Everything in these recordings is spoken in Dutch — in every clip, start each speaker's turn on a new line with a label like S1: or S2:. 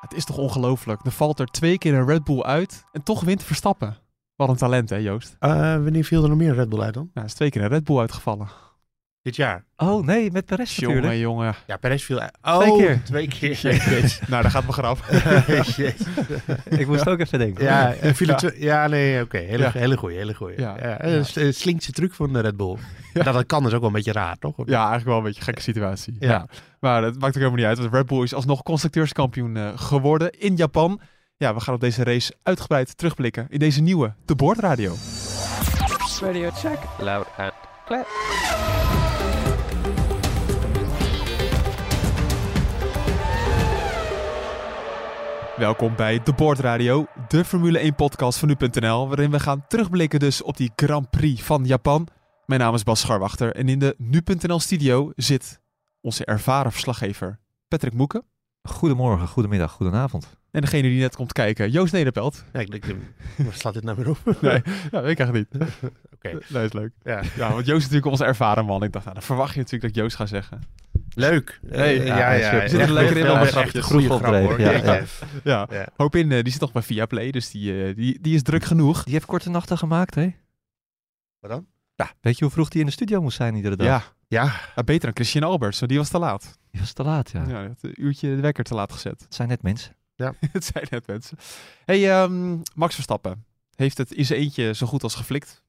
S1: Het is toch ongelooflijk? Er valt er twee keer een Red Bull uit en toch wint Verstappen. Wat een talent, hè Joost?
S2: Eh, wanneer viel er nog meer een Red Bull uit dan?
S1: Nou, is twee keer een Red Bull uitgevallen.
S2: Dit jaar.
S3: Oh nee, met Perez natuurlijk.
S1: Jongen, jongen.
S2: Ja, Perez viel uit. Oh,
S1: Twee keer.
S2: Twee keer.
S1: nou, daar gaat mijn graf.
S2: Jezus.
S3: Ik moest ook even denken.
S2: ja, en viel er twee- ja, nee, oké. Hele,
S1: Ja.
S2: hele goeie, hele goeie.
S1: Ja.
S2: Ja. een s- een slinkse truc van de Red Bull. Nou, dat kan dus ook wel een beetje raar, toch?
S1: Ja, eigenlijk wel een beetje een gekke situatie. Ja.
S2: Ja.
S1: Maar dat maakt ook helemaal niet uit, want Red Bull is alsnog constructeurskampioen eh, geworden in Japan. Ja, we gaan op deze race uitgebreid terugblikken in deze nieuwe De Board Radio.
S4: Radio check. Loud and clear.
S1: Welkom bij De Board Radio, de Formule 1 podcast van nu.nl, waarin we gaan terugblikken dus op die Grand Prix van Japan. Mijn naam is Bas Scharwachter en in de nu.nl studio zit onze ervaren verslaggever Patrick Moeken.
S3: Goedemorgen, goedemiddag, goedenavond.
S1: En degene die net komt kijken, Joost Nederpelt.
S2: Ja, ik denk, eh, waar slaat dit nou weer op?
S1: Nee, ja, weet ik eigenlijk niet.
S2: Oké.
S1: Dat is leuk.
S2: Ja.
S1: Ja, want Joost is natuurlijk onze ervaren man. Ik dacht, nou, dan verwacht je natuurlijk dat Joost gaat zeggen.
S2: Leuk.
S1: Hey,
S2: Eh,
S3: ja, hij is- zit er
S2: echt
S1: lekker
S2: wel
S1: in, allemaal
S2: echt een
S1: grapjes.
S2: goede
S3: Goed
S2: grap, hoor.
S3: opgedreven, ja,
S2: Jeetje.
S1: Ja.
S2: Ja.
S1: Hoop in, eh, die zit nog bij Viaplay, dus die, eh, die, die is druk genoeg.
S3: Die heeft korte nachten gemaakt, hè?
S2: Wat dan?
S3: Ja, weet je hoe vroeg die in de studio moest zijn iedere dag?
S1: Ja.
S2: Ja.
S1: Maar beter dan Christian Alberts, want die was te laat.
S3: Die was te laat, ja.
S1: Ja, die had een uurtje de wekker te laat gezet.
S3: Het zijn net mensen.
S1: Het zijn net mensen. hey, ehm, Max Verstappen heeft het in zijn eentje zo goed als geflikt.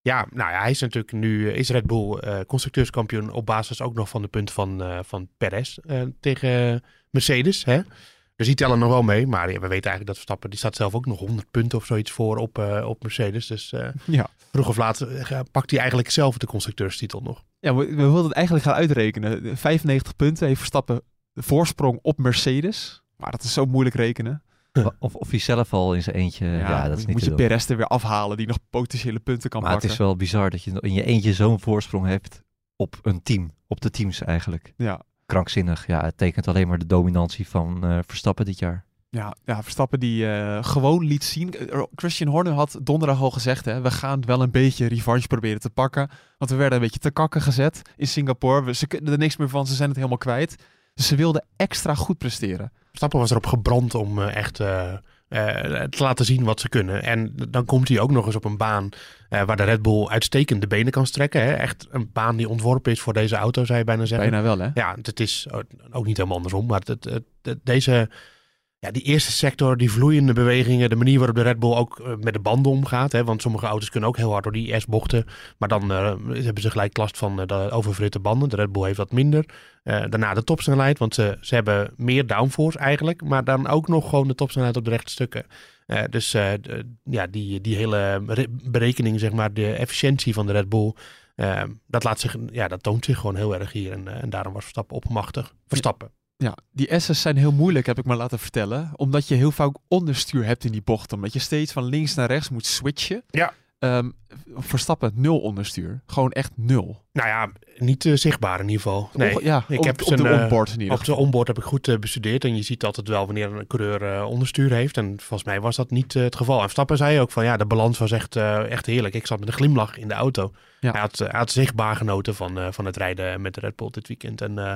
S2: Ja, nou ja, hij is natuurlijk nu eh, is Red Bull eh, constructeurskampioen op basis ook nog van de punten van, eh, van Perez eh, tegen Mercedes. Hè? Dus die tellen nog wel mee. Maar ja, we weten eigenlijk dat Verstappen, die staat zelf ook nog 100 punten of zoiets voor op, eh, op Mercedes. Dus eh,
S1: Ja.
S2: vroeg of laat eh, pakt hij eigenlijk zelf de constructeurstitel nog.
S1: Ja, we, we wilden het eigenlijk gaan uitrekenen. 95 punten heeft Verstappen voorsprong op Mercedes. Maar dat is zo moeilijk rekenen.
S3: Of, of hij zelf al in zijn eentje. Ja, dat is niet
S1: moet
S3: te
S1: je
S3: doen.
S1: Perez er weer afhalen die nog potentiële punten kan
S3: Maar het
S1: pakken.
S3: is wel bizar dat je in je eentje zo'n voorsprong hebt op een team. Op de teams eigenlijk.
S1: Ja.
S3: Krankzinnig. Ja, het tekent alleen maar de dominantie van eh, Verstappen dit jaar.
S1: Ja, ja, Verstappen die eh, gewoon liet zien. Eh, Christian Horner had donderdag al gezegd, hè, we gaan wel een beetje revanche proberen te pakken. Want we werden een beetje te kakken gezet in Singapore. We, ze kunnen er niks meer van, ze zijn het helemaal kwijt. Dus ze wilden extra goed presteren.
S2: Verstappen was erop gebrand om eh, echt eh, eh, te laten zien wat ze kunnen. En dan komt hij ook nog eens op een baan eh, waar de Red Bull uitstekend de benen kan strekken. Hè? Echt een baan die ontworpen is voor deze auto, zou je bijna zeggen.
S1: Bijna wel, hè?
S2: Ja, het is ook niet helemaal andersom. Maar het, het- het- deze, ja, die eerste sector, die vloeiende bewegingen, de manier waarop de Red Bull ook eh, met de banden omgaat. Hè, want sommige auto's kunnen ook heel hard door die S-bochten. Maar dan eh, hebben ze gelijk last van eh, de oververhitte banden. De Red Bull heeft wat minder. Eh, daarna de topsnelheid, want ze, ze hebben meer downforce eigenlijk. Maar dan ook nog gewoon de topsnelheid op de rechte stukken. Eh, dus eh, d- ja, die, die hele re- berekening, zeg maar, de efficiëntie van de Red Bull. Ehm, dat, laat zich, ja, dat toont zich gewoon heel erg hier. En, eh, en daarom was Verstappen opmachtig. Verstappen.
S1: Ja, die S's zijn heel moeilijk, heb ik me laten vertellen. Omdat je heel vaak onderstuur hebt in die bocht. Omdat je steeds van links naar rechts moet switchen.
S2: Ja.
S1: Ehm, Verstappen nul onderstuur. Gewoon echt nul.
S2: Nou ja, niet eh, zichtbaar in ieder geval. Nee.
S1: Onge- ja,
S2: ik
S1: op,
S2: heb
S1: op
S2: zijn,
S1: de
S2: eh,
S1: onboard in ieder
S2: Op de onboard heb ik goed eh, bestudeerd. En je ziet altijd wel wanneer een coureur eh, onderstuur heeft. En volgens mij was dat niet eh, het geval. En Verstappen zei ook van ja, de balans was echt, eh, echt heerlijk. Ik zat met een glimlach in de auto.
S1: Ja.
S2: Hij, had, eh, hij had zichtbaar genoten van, eh, van het rijden met de Red Bull dit weekend. En eh,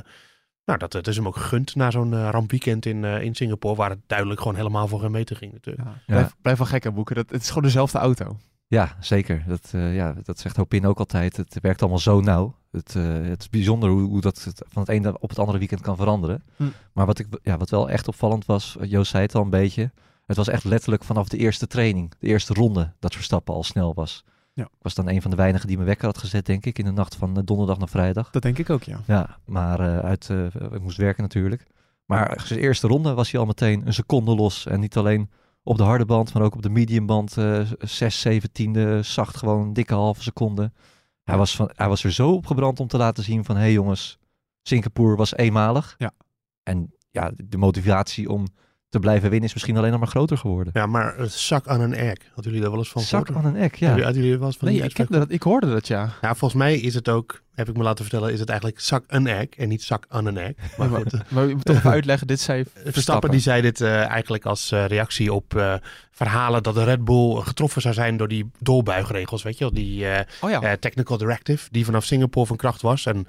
S2: nou, dat, dat is hem ook gegund na zo'n eh, rampweekend in, eh, in Singapore. Waar het duidelijk gewoon helemaal voor hem meten ging natuurlijk.
S1: Ja. Blijf, blijf wel gek aan boeken. Dat, het is gewoon dezelfde auto.
S3: Ja, zeker. Dat, eh, ja, dat zegt Hopin ook altijd. Het werkt allemaal zo nauw. Het, eh, het is bijzonder hoe, hoe dat het van het ene op het andere weekend kan veranderen.
S1: Hm.
S3: Maar wat, ik, ja, wat wel echt opvallend was, eh, Joost zei het al een beetje. Het was echt letterlijk vanaf de eerste training, de eerste ronde, dat Verstappen al snel was.
S1: Ja.
S3: Ik was dan een van de weinigen die mijn wekker had gezet, denk ik, in de nacht van eh, donderdag naar vrijdag.
S1: Dat denk ik ook, ja.
S3: Ja, maar eh, uit, eh, ik moest werken natuurlijk. Maar zijn eerste ronde was hij al meteen een seconde los. En niet alleen op de harde band, maar ook op de mediumband. eh zes, zeventiende, zacht gewoon een dikke halve seconde. Hij was, van, hij was er zo opgebrand om te laten zien van... hé hey jongens, Singapore was eenmalig.
S1: Ja.
S3: En ja, de motivatie om te blijven winnen is misschien alleen nog maar groter geworden.
S2: Ja, maar het zak aan een egg. Hadden jullie daar wel eens van
S3: Zak
S2: gehoord?
S3: aan een ek, ja.
S2: Hebben hadden jullie wel eens van
S1: Nee,
S2: die
S1: ik,
S2: uitspraak
S1: kende dat, ik hoorde dat ja.
S2: Ja, volgens mij is het ook, heb ik me laten vertellen, is het eigenlijk zak een egg en niet zak aan een egg. Maar
S1: Ja,
S2: goed, eh,
S1: Maar je moet toch even uitleggen, dit zei...
S2: Verstappen die zei dit eh, eigenlijk als eh, reactie op eh, verhalen dat de Red Bull getroffen zou zijn door die doorbuigregels, weet je wel, die eh,
S1: Oh ja,
S2: eh, technical directive die vanaf Singapore van kracht was. En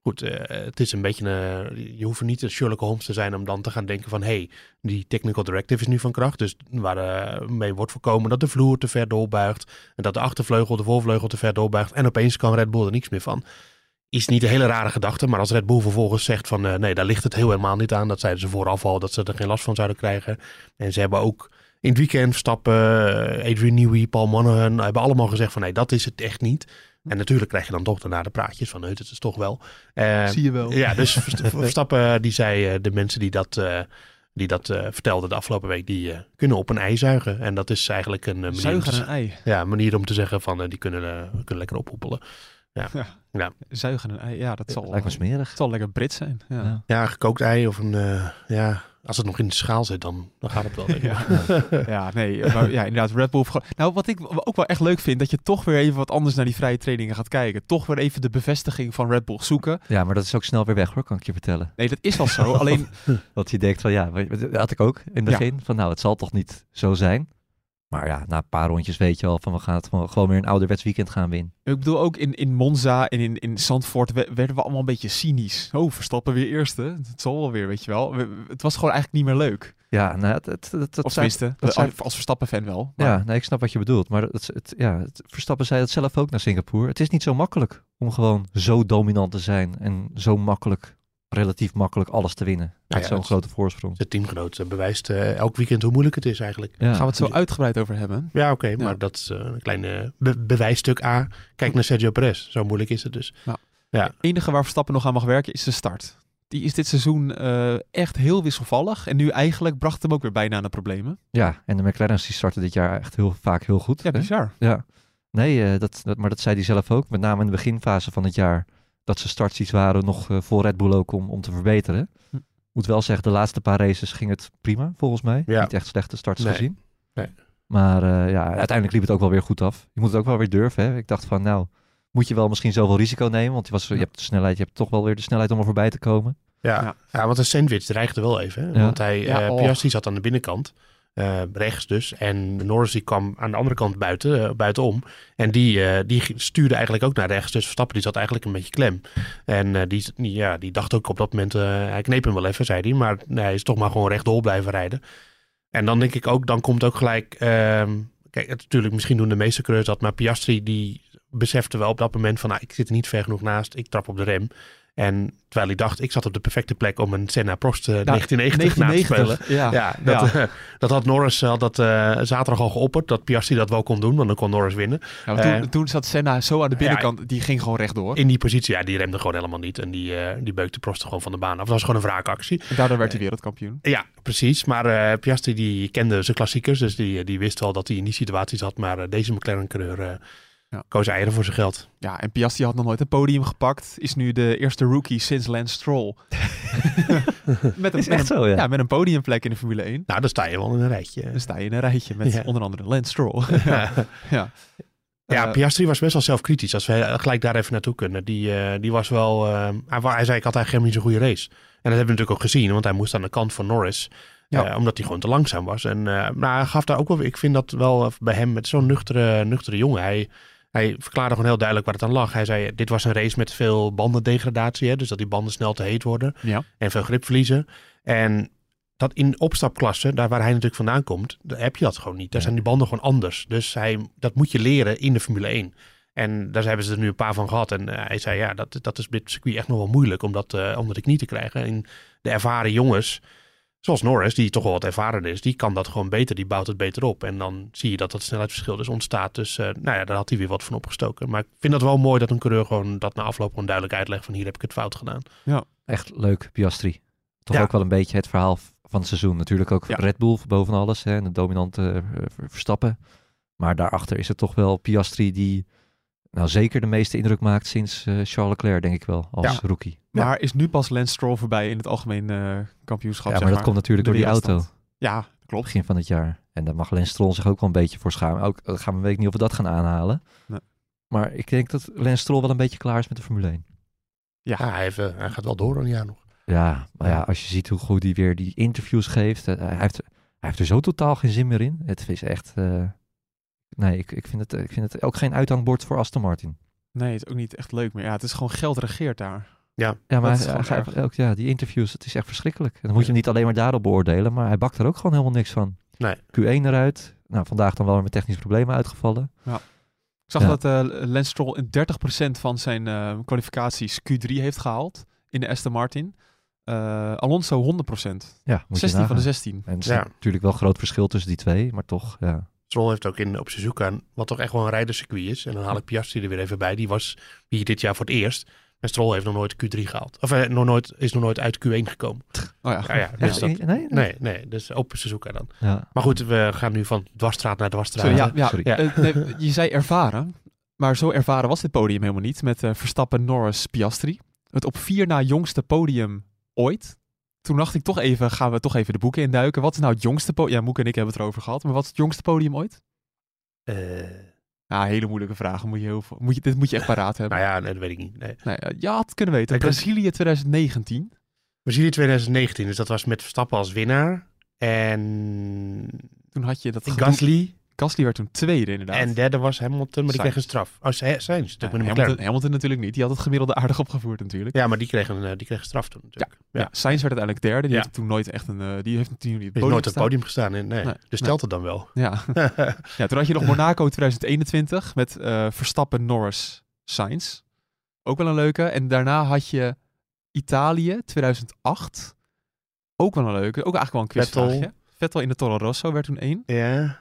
S2: goed, eh, het is een beetje, een, je hoeft niet een Sherlock Holmes te zijn om dan te gaan denken van, hé, hey, die technical directive is nu van kracht, dus waarmee wordt voorkomen dat de vloer te ver doorbuigt en dat de achtervleugel de voorvleugel te ver doorbuigt en opeens kan Red Bull er niks meer van. Is niet een hele rare gedachte, maar als Red Bull vervolgens zegt van eh, nee, daar ligt het heel helemaal niet aan. Dat zeiden ze vooraf al, dat ze er geen last van zouden krijgen. En ze hebben ook in het weekend Stappen, eh, Adrian Newey, Paul Monaghan, hebben allemaal gezegd van nee, dat is het echt niet. En natuurlijk krijg je dan toch daarna de praatjes van nee, het is toch wel. Eh,
S1: zie je wel.
S2: ja, dus Verst- Verstappen die zei, eh, de mensen die dat, eh, die dat eh, vertelden de afgelopen week, die eh, kunnen op een ei zuigen. En dat is eigenlijk een eh, manier, om
S1: Zuigen
S2: te,
S1: aan een
S2: ze-
S1: ei.
S2: ja, een manier om te zeggen van eh, die kunnen, eh, kunnen lekker ophoepelen.
S1: Zuigen aan een ei, ja, dat zal,
S3: Lijkt me smerig.
S1: het zal lekker Brit zijn. Ja.
S3: Ja.
S2: Ja, gekookt ei of een, eh, ja, als het nog in de schaal zit, dan, dan gaat het wel. denk ik.
S1: Ja. Ja, nee, maar ja, inderdaad, Red Bull. heeft gewoon- Nou, wat ik ook wel echt leuk vind, dat je toch weer even wat anders naar die vrije trainingen gaat kijken. Toch weer even de bevestiging van Red Bull zoeken.
S3: ja, maar dat is ook snel weer weg hoor, kan ik je vertellen.
S1: Nee, dat is wel zo. Alleen,
S3: Dat je denkt van ja, weet je, dat had ik ook in het
S1: Ja.
S3: begin. Van nou, het zal toch niet zo zijn. Maar ja, na een paar rondjes weet je al van we gaan het gewoon gewoon weer een ouderwets weekend gaan winnen.
S1: ik bedoel, ook in, in Monza en in, in Zandvoort we- werden we allemaal een beetje cynisch. Oh, Verstappen weer eerste. Het zal wel weer, weet je wel. We- we- het was gewoon eigenlijk niet meer leuk.
S3: Ja, nou, het, het, het, het
S1: of
S3: zijn-
S1: tenminste,
S3: dat zijn-
S1: als- als Verstappen-fan wel. Maar,
S3: ja, nee, ik snap wat je bedoelt. Maar het, het, ja, het- Verstappen zei dat zelf ook naar Singapore. Het is niet zo makkelijk om gewoon zo dominant te zijn en zo makkelijk, relatief makkelijk alles te winnen.
S2: ja,
S3: Met zo'n
S2: dat-
S3: grote voorsprong.
S2: De teamgenoot eh, bewijst eh, elk weekend hoe moeilijk het is eigenlijk.
S3: Ja.
S1: gaan we het zo uitgebreid over hebben.
S2: Ja, oké,
S1: Ja.
S2: maar dat is eh, een klein eh, be- bewijsstuk A. Kijk naar Sergio Perez, zo moeilijk is het dus.
S1: Het enige waar Verstappen nog aan mag werken is de start. Die is dit seizoen eh, echt heel wisselvallig. En nu eigenlijk bracht het hem ook weer bijna aan de problemen.
S3: ja, en de McLaren's die starten dit jaar echt heel vaak heel goed.
S1: Ja,
S3: hè?
S1: bizar.
S3: Ja, nee, eh, dat, dat, maar dat zei hij zelf ook. Met name in de beginfase van het jaar. Dat ze starts iets waren nog eh, voor Red Bull ook om, om te verbeteren.
S1: Hm.
S3: Moet wel zeggen, de laatste paar races ging het prima volgens mij.
S2: Ja.
S3: Niet echt slechte starts
S2: Nee.
S3: gezien.
S2: Nee.
S3: Maar eh, ja, uiteindelijk liep het ook wel weer goed af. Je moet het ook wel weer durven. Hè? Ik dacht van nou, moet je wel misschien zoveel risico nemen. Want je, was, je hebt de snelheid, je hebt toch wel weer de snelheid om er voorbij te komen.
S2: Ja,
S1: Ja.
S2: ja. want een sandwich dreigde wel even. hè.
S3: Ja.
S2: Want hij,
S1: Ja,
S2: eh,
S1: oh.
S2: Piastri zat aan de binnenkant, eh, rechts dus. En Norris die kwam aan de andere kant buiten, eh, buitenom. En die, eh, die g- stuurde eigenlijk ook naar rechts. Dus Verstappen die zat eigenlijk een beetje klem. En eh, die, die- ja, die dacht ook op dat moment, eh, hij kneep hem wel even, zei hij. Maar nee, hij is toch maar gewoon rechtdoor blijven rijden. En dan denk ik ook, dan komt ook gelijk... ehm, kijk, het- natuurlijk, misschien doen de meeste coureurs dat. Maar Piastri die besefte wel op dat moment van... Nou, ik zit er niet ver genoeg naast, ik trap op de rem. En terwijl hij dacht, ik zat op de perfecte plek om een Senna Prost eh, 1990, na te spelen.
S1: 1990. Ja.
S2: Ja, dat, eh, dat had Norris eh, had dat, eh, zaterdag al geopperd. Dat Piastri dat wel kon doen, want dan kon Norris winnen.
S1: Ja, maar toen,
S2: Eh,
S1: toen zat Senna zo aan de binnenkant, die ging gewoon rechtdoor.
S2: In die positie, ja, die remde gewoon helemaal niet. En die, eh, die beukte Prost gewoon van de baan af. Dat was gewoon een wraakactie.
S1: En daardoor werd hij wereldkampioen.
S2: Ja, precies. Maar eh, Piastri die kende zijn klassiekers. Dus die, die wist al dat hij in die situatie zat. Maar eh, deze McLaren-coureur eh,
S1: Ja.
S2: koos eieren voor zijn geld.
S1: Ja, en Piastri had nog nooit een podium gepakt. Is nu de eerste rookie sinds Lance Stroll. met, een,
S3: Is
S1: met
S3: echt
S1: een-
S3: zo, ja.
S1: ja, met een podiumplek in de Formule 1.
S2: Nou, dan sta je wel in een rijtje.
S1: Dan sta je in een rijtje met
S2: Ja.
S1: onder andere Lance Stroll. ja.
S2: Ja,
S1: Eh,
S2: Piastri was best wel zelfkritisch. Als we eh, gelijk daar even naartoe kunnen. Die, eh, die was wel... eh, hij, wa- hij zei, ik had eigenlijk helemaal niet zo'n goede race. En dat hebben we natuurlijk ook gezien. Want hij moest aan de kant van Norris.
S1: Ja.
S2: eh, omdat hij gewoon te langzaam was. En eh, maar hij gaf daar ook wel... Ik vind dat wel eh, bij hem met zo'n nuchtere, nuchtere jongen. Hij, hij verklaarde gewoon heel duidelijk waar het aan lag. Hij zei, dit was een race met veel bandendegradatie. Hè, dus dat die banden snel te heet worden.
S1: ja.
S2: En veel grip verliezen. En dat in opstapklassen, daar waar hij natuurlijk vandaan komt, daar heb je dat gewoon niet. Daar
S3: Ja.
S2: zijn die banden gewoon anders. Dus hij, dat moet je leren in de Formule 1. En daar hebben ze er nu een paar van gehad. En eh, hij zei, ja, dat, dat is op dit circuit echt nog wel moeilijk om dat eh onder de knie te krijgen. En de ervaren jongens, zoals Norris, die toch wel wat ervaren is, die kan dat gewoon beter. Die bouwt het beter op. En dan zie je dat dat snelheidsverschil dus ontstaat. Dus eh, nou ja, daar had hij weer wat van opgestoken. Maar ik vind dat wel mooi dat een coureur gewoon dat na afloop gewoon duidelijk uitlegt van hier heb ik het fout gedaan.
S3: Echt leuk, Piastri. Toch
S2: Ja.
S3: ook wel een beetje het verhaal v- van het seizoen. Natuurlijk ook
S1: Ja.
S3: Red Bull boven alles hè, en de dominante eh, ver- Verstappen. Maar daarachter is het toch wel Piastri die nou, zeker de meeste indruk maakt sinds eh, Charles Leclerc, denk ik wel, als
S2: Ja.
S3: rookie.
S1: Maar is nu pas Lance Stroll voorbij in het algemeen eh, kampioenschap.
S3: ja, maar
S1: zeg
S3: dat komt natuurlijk
S1: de
S3: door die auto.
S1: wereldstand. Ja, klopt.
S3: begin van het jaar. En daar mag Lens Stroll zich ook wel een beetje voor schamen. Ook eh, gaan we weet ik niet of we dat gaan aanhalen.
S1: Nee.
S3: Maar ik denk dat Lens Stroll wel een beetje klaar is met de Formule 1.
S2: Ja, hij, heeft, eh, hij gaat wel door een jaar nog.
S3: Ja, maar ja, als je ziet hoe goed hij weer die interviews geeft. eh, hij, heeft, hij heeft er zo totaal geen zin meer in. Het is echt... eh, nee, ik, ik, vind het, ik vind het ook geen uithangbord voor Aston Martin.
S1: Nee, het is ook niet echt leuk meer. Ja, het is gewoon geld regeert daar.
S3: Ja, maar
S1: Dat is gewoon
S3: hij- hij-
S1: erg.
S3: ook, ja, die interviews, het is echt verschrikkelijk. En dan moet je hem niet alleen maar daarop beoordelen, maar hij bakt er ook gewoon helemaal niks van.
S2: Nee.
S3: Q1 eruit. Nou, vandaag dan wel weer met technische problemen uitgevallen.
S1: Ik zag
S3: Ja.
S1: dat eh Lance Stroll in 30% van zijn eh, kwalificaties Q3 heeft gehaald in de Aston Martin. Eh, Alonso 100%.
S3: Ja, moet je
S1: 16 van de
S3: nagaan.
S1: 16.
S3: En er is
S2: Ja.
S3: natuurlijk wel een groot verschil tussen die twee, maar toch, ja.
S2: Stroll heeft ook in, op Suzuka, wat toch echt wel een rijderscircuit is. En dan haal ik Piastri er weer even bij. Die was hier dit jaar voor het eerst. En Stroll heeft nog nooit Q3 gehaald. Of eh, nog nooit, is nog nooit uit Q1 gekomen.
S1: Oh ja,
S2: Ja, ja,
S3: Ja,
S2: dus dat,
S3: nee, nee.
S2: nee, nee, dus op Suzuka dan.
S3: Ja.
S2: Maar goed, we gaan nu van dwarsstraat naar dwarsstraat.
S1: Sorry, ja, ja,
S3: Sorry.
S2: Ja.
S1: eh, nee, je zei ervaren, maar zo ervaren was dit podium helemaal niet. Met eh, Verstappen, Norris, Piastri. Het op vier na jongste podium ooit. Toen dacht ik toch even, gaan we toch even de boeken induiken. Wat is nou het jongste podium? Ja, Moek en ik hebben het erover gehad. Maar wat is het jongste podium ooit?
S2: Eh,
S1: Ja, hele moeilijke vraag. Moet je heel veel, moet je, dit moet je echt paraat hebben.
S2: nou ja, nee, dat weet ik niet. Nee.
S1: Nee, eh, je had het kunnen weten.
S2: Ik-
S1: Brazilië 2019.
S2: Brazilië 2019, dus dat was met Verstappen als winnaar. En
S1: Toen had je dat gedoe-
S2: Gasly.
S1: Gasly werd toen tweede inderdaad.
S2: En derde was Hamilton, maar die
S1: Sainz.
S2: kreeg een straf. Oh, Sa- Sainz.
S1: Ja,
S2: dat met de
S1: Hamilton,
S2: McLaren.
S1: Hamilton natuurlijk niet. Die had het gemiddelde aardig opgevoerd natuurlijk.
S2: Ja, maar die kreeg een, eh, die kreeg een straf toen natuurlijk.
S1: Ja, Sainz werd uiteindelijk derde. Die
S2: Ja.
S1: heeft toen nooit echt een... eh, die heeft natuurlijk niet op het
S2: Die is
S1: podium
S2: nooit op het
S1: gestaan.
S2: podium gestaan. Nee, nee.
S1: Nee,
S2: dus
S1: nee.
S2: telt het dan wel.
S1: Ja. ja, toen had je nog Monaco 2021 met eh, Verstappen, Norris, Sainz. Ook wel een leuke. En daarna had je Italië 2008. Ook wel een leuke. Ook eigenlijk wel een
S2: Vettel.
S1: quizvraagje. Vettel. in de Toro Rosso werd toen één.
S2: ja.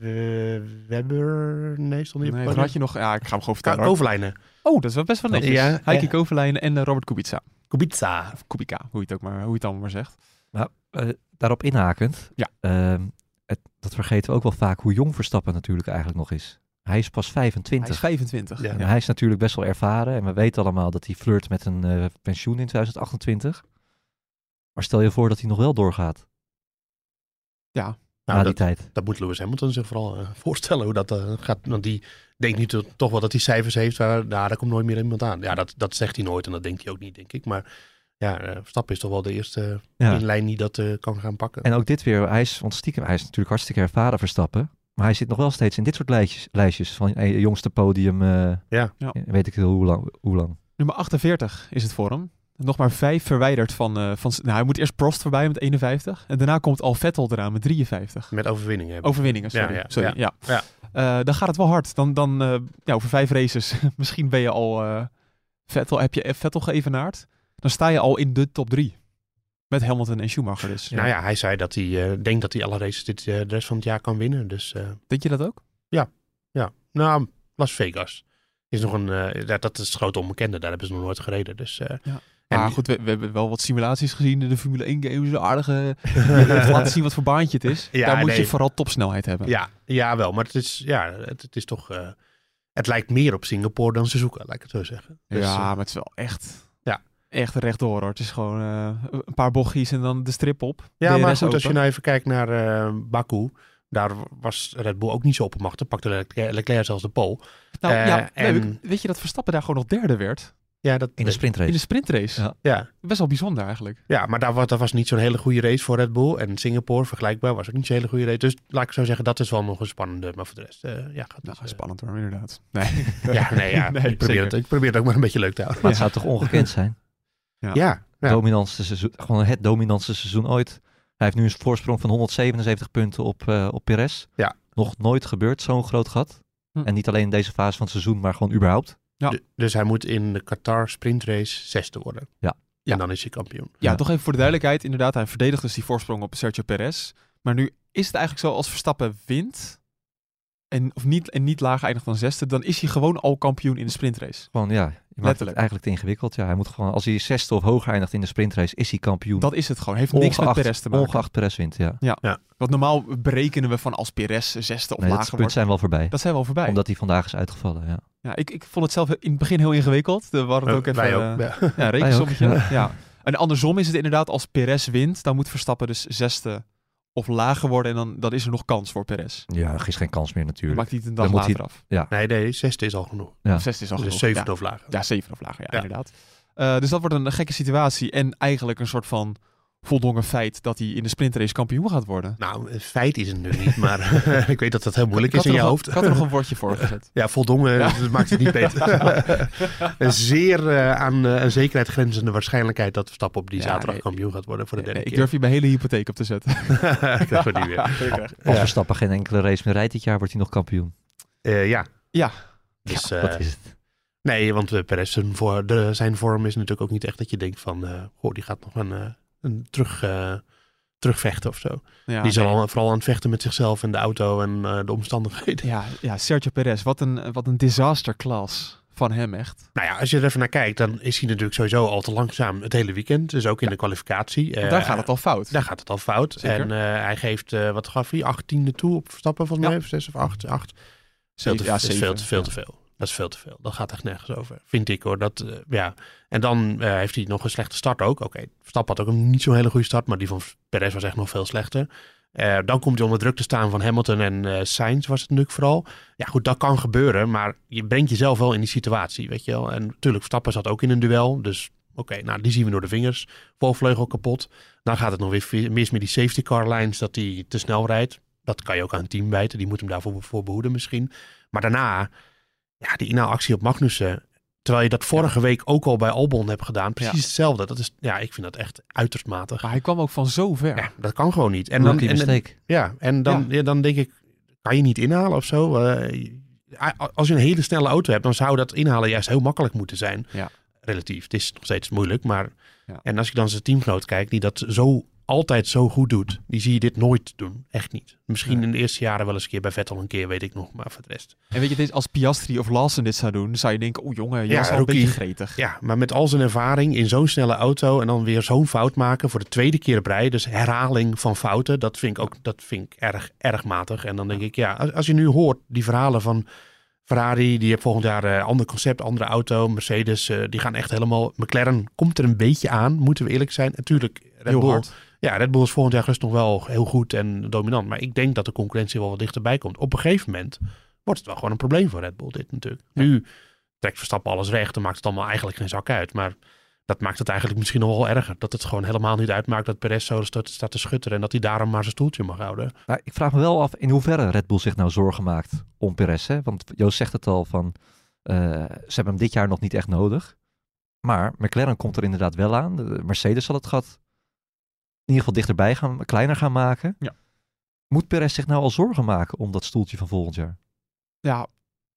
S2: We, Webber, nee, stond
S1: Nee, dan
S2: niet op het
S1: had
S2: podium.
S1: je nog... Ja, ik ga hem gewoon
S2: Ka-
S1: vertellen. hoor.
S2: Overlijnen.
S1: Oh, dat is wel best wel netjes.
S2: Ja,
S1: Heike
S2: ja.
S1: Kovalainen en eh, Robert Kubica.
S2: Kubica. Nou,
S1: Of Kubica, hoe je het ook maar, hoe je het allemaal maar zegt.
S3: Eh, daarop inhakend,
S1: Ja.
S3: ehm, het, dat vergeten we ook wel vaak hoe jong Verstappen natuurlijk eigenlijk nog is. Hij is pas 25.
S1: Hij is 25.
S2: Ja.
S1: Ja.
S3: En hij is natuurlijk best wel ervaren en we weten allemaal dat hij flirt met een eh, pensioen in 2028. Maar stel je voor dat hij nog wel doorgaat na
S2: Nou,
S3: die
S2: dat,
S3: tijd.
S2: dat moet Lewis Hamilton zich vooral eh, voorstellen hoe dat eh, gaat. Want die denkt nu to- toch wel dat hij cijfers heeft waar nou, daar komt nooit meer iemand aan. Ja, dat, dat zegt hij nooit en dat denkt hij ook niet, denk ik. Maar ja, eh, Verstappen is toch wel de eerste
S3: Ja.
S2: in lijn die dat eh, kan gaan pakken.
S3: En ook dit weer, hij is, want stiekem, hij is natuurlijk hartstikke ervaren Verstappen. Maar hij zit nog wel steeds in dit soort lijstjes, lijstjes van eh, jongste podium, eh,
S2: Ja.
S1: Ja.
S3: weet ik veel hoe lang. Hoe lang.
S1: Nummer 48 is het voor hem. Nog maar vijf verwijderd van... eh, van nou, hij moet eerst Prost voorbij met 51. En daarna komt al Vettel eraan met 53.
S2: Met overwinningen hebben.
S1: Overwinningen, sorry.
S2: Ja, ja,
S1: sorry ja.
S2: ja.
S1: Eh, dan gaat het wel hard. Dan, dan eh, ja, over vijf races, misschien ben je al... eh, Vettel, heb je Vettel geëvenaard? Dan sta je al in de top drie. Met Hamilton en Schumacher dus.
S2: Nou ja, hij zei dat hij eh, denkt dat hij alle races dit, eh, de rest van het jaar kan winnen. Dus eh,
S1: Denk je dat ook?
S2: ja, nou, Las Vegas is nog een, eh, dat, dat is het grote onbekende. Daar hebben ze nog nooit gereden. Dus, eh,
S1: Ja.
S2: en-
S1: Maar goed, we, we hebben wel wat simulaties gezien in de Formule 1 games. Aardige, je hebt eh, laten zien wat voor baantje het is.
S2: Ja,
S1: Daar moet je
S2: nee.
S1: vooral topsnelheid hebben.
S2: Ja, ja wel. Maar het is, ja, het, het is toch. eh, het lijkt meer op Singapore dan Suzuka, laat ik het zo zeggen. Dus,
S1: ja
S2: eh,
S1: maar het is wel echt,
S2: Ja.
S1: echt rechtdoor hoor. Het is gewoon eh, een paar bochtjes en dan de strip op.
S2: ja,
S1: DRS
S2: maar goed, als je
S1: open.
S2: nou even kijkt naar eh, Baku. Daar was Red Bull ook niet zo oppermachtig. Pakte Leclerc, Leclerc zelfs de pole.
S1: Nou,
S2: eh,
S1: ja, nee,
S2: en-
S1: weet je dat Verstappen daar gewoon nog derde werd?
S2: Ja, dat,
S3: In de
S1: In
S3: sprintrace.
S1: de sprintrace.
S3: Ja.
S2: ja,
S1: Best wel bijzonder eigenlijk.
S2: ja, maar daar was, dat was niet zo'n hele goede race voor Red Bull. En Singapore, vergelijkbaar, was ook niet zo'n hele goede race. Dus laat ik zo zeggen, dat is wel nog een spannende. Maar voor de rest, eh, ja, gaat
S1: Nou,
S2: het, eh,
S1: spannend hoor, inderdaad. Nee.
S2: Ja, nee, ja.
S1: Nee,
S2: ik, probeer
S1: zeker.
S2: het, ik probeer het ook maar een beetje leuk te houden.
S3: Maar het zou toch ongekend zijn?
S1: Ja.
S2: Ja, nou, ja.
S3: Dominantste seizoen, gewoon het dominantste seizoen ooit. Hij heeft nu een voorsprong van 177 punten op, eh op Perez.
S2: Ja.
S3: Nog nooit gebeurd, zo'n groot gat.
S1: Hm.
S3: En niet alleen in deze fase van het seizoen, maar gewoon überhaupt.
S1: Ja.
S2: Du- Dus hij moet in de Qatar sprintrace zesde worden.
S3: Ja.
S1: Ja.
S2: En dan is hij kampioen.
S1: Ja,
S3: Ja.
S1: toch even voor de duidelijkheid. Inderdaad, hij verdedigt dus die voorsprong op Sergio Perez. Maar nu is het eigenlijk zo, als Verstappen wint... En, of niet, en niet lager eindigt dan zesde, dan is hij gewoon al kampioen in de sprintrace.
S3: Gewoon ja, je maakt het
S1: Letterlijk.
S3: eigenlijk te ingewikkeld. Ja, hij moet gewoon, als hij zesde of hoger eindigt in de sprintrace, is hij kampioen.
S1: Dat is het gewoon. Heeft niks met Perez te maken.
S3: ongeacht Perez wint, ja.
S1: Want normaal berekenen we van als Perez zesde of
S3: Nee, dat
S1: lager
S3: punt
S1: wordt.
S3: zijn wel voorbij.
S1: Dat zijn we al voorbij.
S3: Omdat hij vandaag is uitgevallen, ja.
S1: Ja, ik, ik vond het zelf in het begin heel ingewikkeld. Er waren het ook even...
S2: Wij
S1: eh,
S2: ook. ja.
S1: Ja, rekensommetje.
S3: Wij ook,
S1: Ja. En andersom is het inderdaad, als Perez wint, dan moet Verstappen dus zesde of lager worden. En dan, dan is er nog kans voor Perez.
S3: Ja, er is geen kans meer
S1: Dan
S3: natuurlijk.
S1: maakt hij het een dag
S3: Dan moet
S1: later
S3: hij-
S1: af.
S2: Nee, nee, zesde is al genoeg.
S3: Ja.
S1: Of zesde is al
S2: dus
S1: genoeg.
S2: zevende
S1: ja.
S2: of lager.
S1: ja, zeven of lager. Ja,
S2: Ja.
S1: inderdaad. Eh, dus dat wordt een gekke situatie. En eigenlijk een soort van voldongen feit dat hij in de sprintrace kampioen gaat worden.
S2: Nou, eh, feit is het nu niet, maar ik weet dat dat heel moeilijk
S1: Ik
S2: is
S1: had
S2: in
S1: er
S2: je
S1: nog-
S2: hoofd.
S1: Ik had er nog een woordje voor gezet.
S2: Ja, voldongen,
S1: Ja.
S2: dat maakt het niet beter. een zeer eh, aan eh, een zekerheid grenzende waarschijnlijkheid dat Verstappen op die
S1: Ja,
S2: zaterdag
S1: nee.
S2: kampioen gaat worden voor de
S1: Nee,
S2: derde
S1: ik
S2: keer.
S1: durf hier mijn hele hypotheek op te zetten.
S2: ik durf het niet meer.
S3: Als
S2: Ja.
S3: Verstappen geen enkele race meer rijdt dit jaar, wordt hij nog kampioen.
S2: Eh, ja.
S1: Ja.
S2: Dus,
S3: ja,
S2: eh,
S3: dat is het.
S2: Nee, want eh, Perez, zijn, voor, de, zijn vorm is natuurlijk ook niet echt dat je denkt van... eh, goh, die gaat nog een, eh, een terug, eh, terugvechten of zo.
S1: Ja,
S2: die is
S1: nee.
S2: al, vooral aan het vechten met zichzelf en de auto en eh, de omstandigheden.
S1: Ja, ja, Sergio Perez, wat een, wat een disaster class van hem echt.
S2: Nou ja, als je er even naar kijkt, dan is hij natuurlijk sowieso al te langzaam het hele weekend. Dus ook in de kwalificatie.
S1: Want
S2: Eh,
S1: daar gaat het al fout.
S2: Daar gaat het al fout.
S1: Zeker.
S2: En eh, hij geeft, eh, wat gaf hij, achttiende toe op Verstappen volgens
S1: Ja.
S2: mij? Of zes of acht? acht. Veel
S1: Zeven,
S2: te,
S1: ja,
S2: is
S1: zeven,
S2: veel, te, veel,
S1: ja.
S2: te veel. Dat is veel te veel. Dat gaat echt nergens over. Vind ik hoor. Dat, eh, ja. En dan eh, heeft hij nog een slechte start ook. Oké, Verstappen had ook een niet zo'n hele goede start. Maar die van Perez was echt nog veel slechter. Eh, dan komt hij onder druk te staan van Hamilton en eh Sainz was het natuurlijk vooral. Ja goed, dat kan gebeuren. Maar je brengt jezelf wel in die situatie, weet je wel. En natuurlijk, Verstappen zat ook in een duel. Dus oké, nou die zien we door de vingers. Voorvleugel kapot. Dan gaat het nog weer vi- mis met die safety car lines dat hij te snel rijdt. Dat kan je ook aan het team wijten. Die moet hem daarvoor voor behoeden misschien. Maar daarna, ja, die inhaalactie op Magnussen. Terwijl je dat vorige week ook al bij Albon hebt gedaan. Precies
S1: Ja. Ah,
S2: hetzelfde. Dat is, ja, ik vind dat echt uiterst matig.
S1: Maar hij kwam ook van zo ver.
S2: Ja, dat kan gewoon niet. En
S3: En
S2: dan,
S3: die
S2: en, en-
S3: mistake.
S2: ja, en dan, ja. dan denk ik, kan je niet inhalen of zo? Eh, a- als je een hele snelle auto hebt, dan zou dat inhalen juist heel makkelijk moeten zijn.
S1: Ja.
S2: Relatief. Het is nog steeds moeilijk, maar...
S1: Ja.
S2: En als je dan zijn teamgenoot kijkt, die dat zo altijd zo goed doet, die zie je dit nooit doen. Echt niet. Misschien
S1: Nee.
S2: in de eerste jaren wel eens een keer bij Vettel een keer, weet ik nog, maar voor de rest.
S1: En weet je, dit, als Piastri of Lawson dit zou doen, zou je denken, oh jongen, je
S2: Ja,
S1: was al
S2: rookie.
S1: een beetje gretig.
S2: Ja, maar met al zijn ervaring in zo'n snelle auto en dan weer zo'n fout maken voor de tweede keer op rij. Dus herhaling van fouten, dat vind ik ook dat vind ik erg, erg matig. En dan denk ik, ja, als, als je nu hoort die verhalen van Ferrari, die heeft volgend jaar een ander concept, andere auto. Mercedes, eh, die gaan echt helemaal... McLaren komt er een beetje aan, moeten we eerlijk zijn. Natuurlijk, Red
S1: Heel
S2: Bull,
S1: hard.
S2: Ja, Red Bull is volgend jaar gerust nog wel heel goed en dominant. Maar ik denk dat de concurrentie wel wat dichterbij komt. Op een gegeven moment wordt het wel gewoon een probleem voor Red Bull, dit natuurlijk. Nu trekt Verstappen alles recht, dan maakt het allemaal eigenlijk geen zak uit. Maar dat maakt het eigenlijk misschien nog wel erger. Dat het gewoon helemaal niet uitmaakt dat Perez zo sta- staat te schutteren... en dat hij daarom maar zijn stoeltje mag houden.
S3: Maar Nou, ik vraag me wel af in hoeverre Red Bull zich nou zorgen maakt om Perez. Hè? Want Joost zegt het al van, eh, ze hebben hem dit jaar nog niet echt nodig. Maar McLaren komt er inderdaad wel aan. De- de Mercedes zal het gat in ieder geval dichterbij gaan, kleiner gaan maken.
S1: Ja.
S3: Moet Perez zich nou al zorgen maken om dat stoeltje van volgend jaar?
S1: Ja,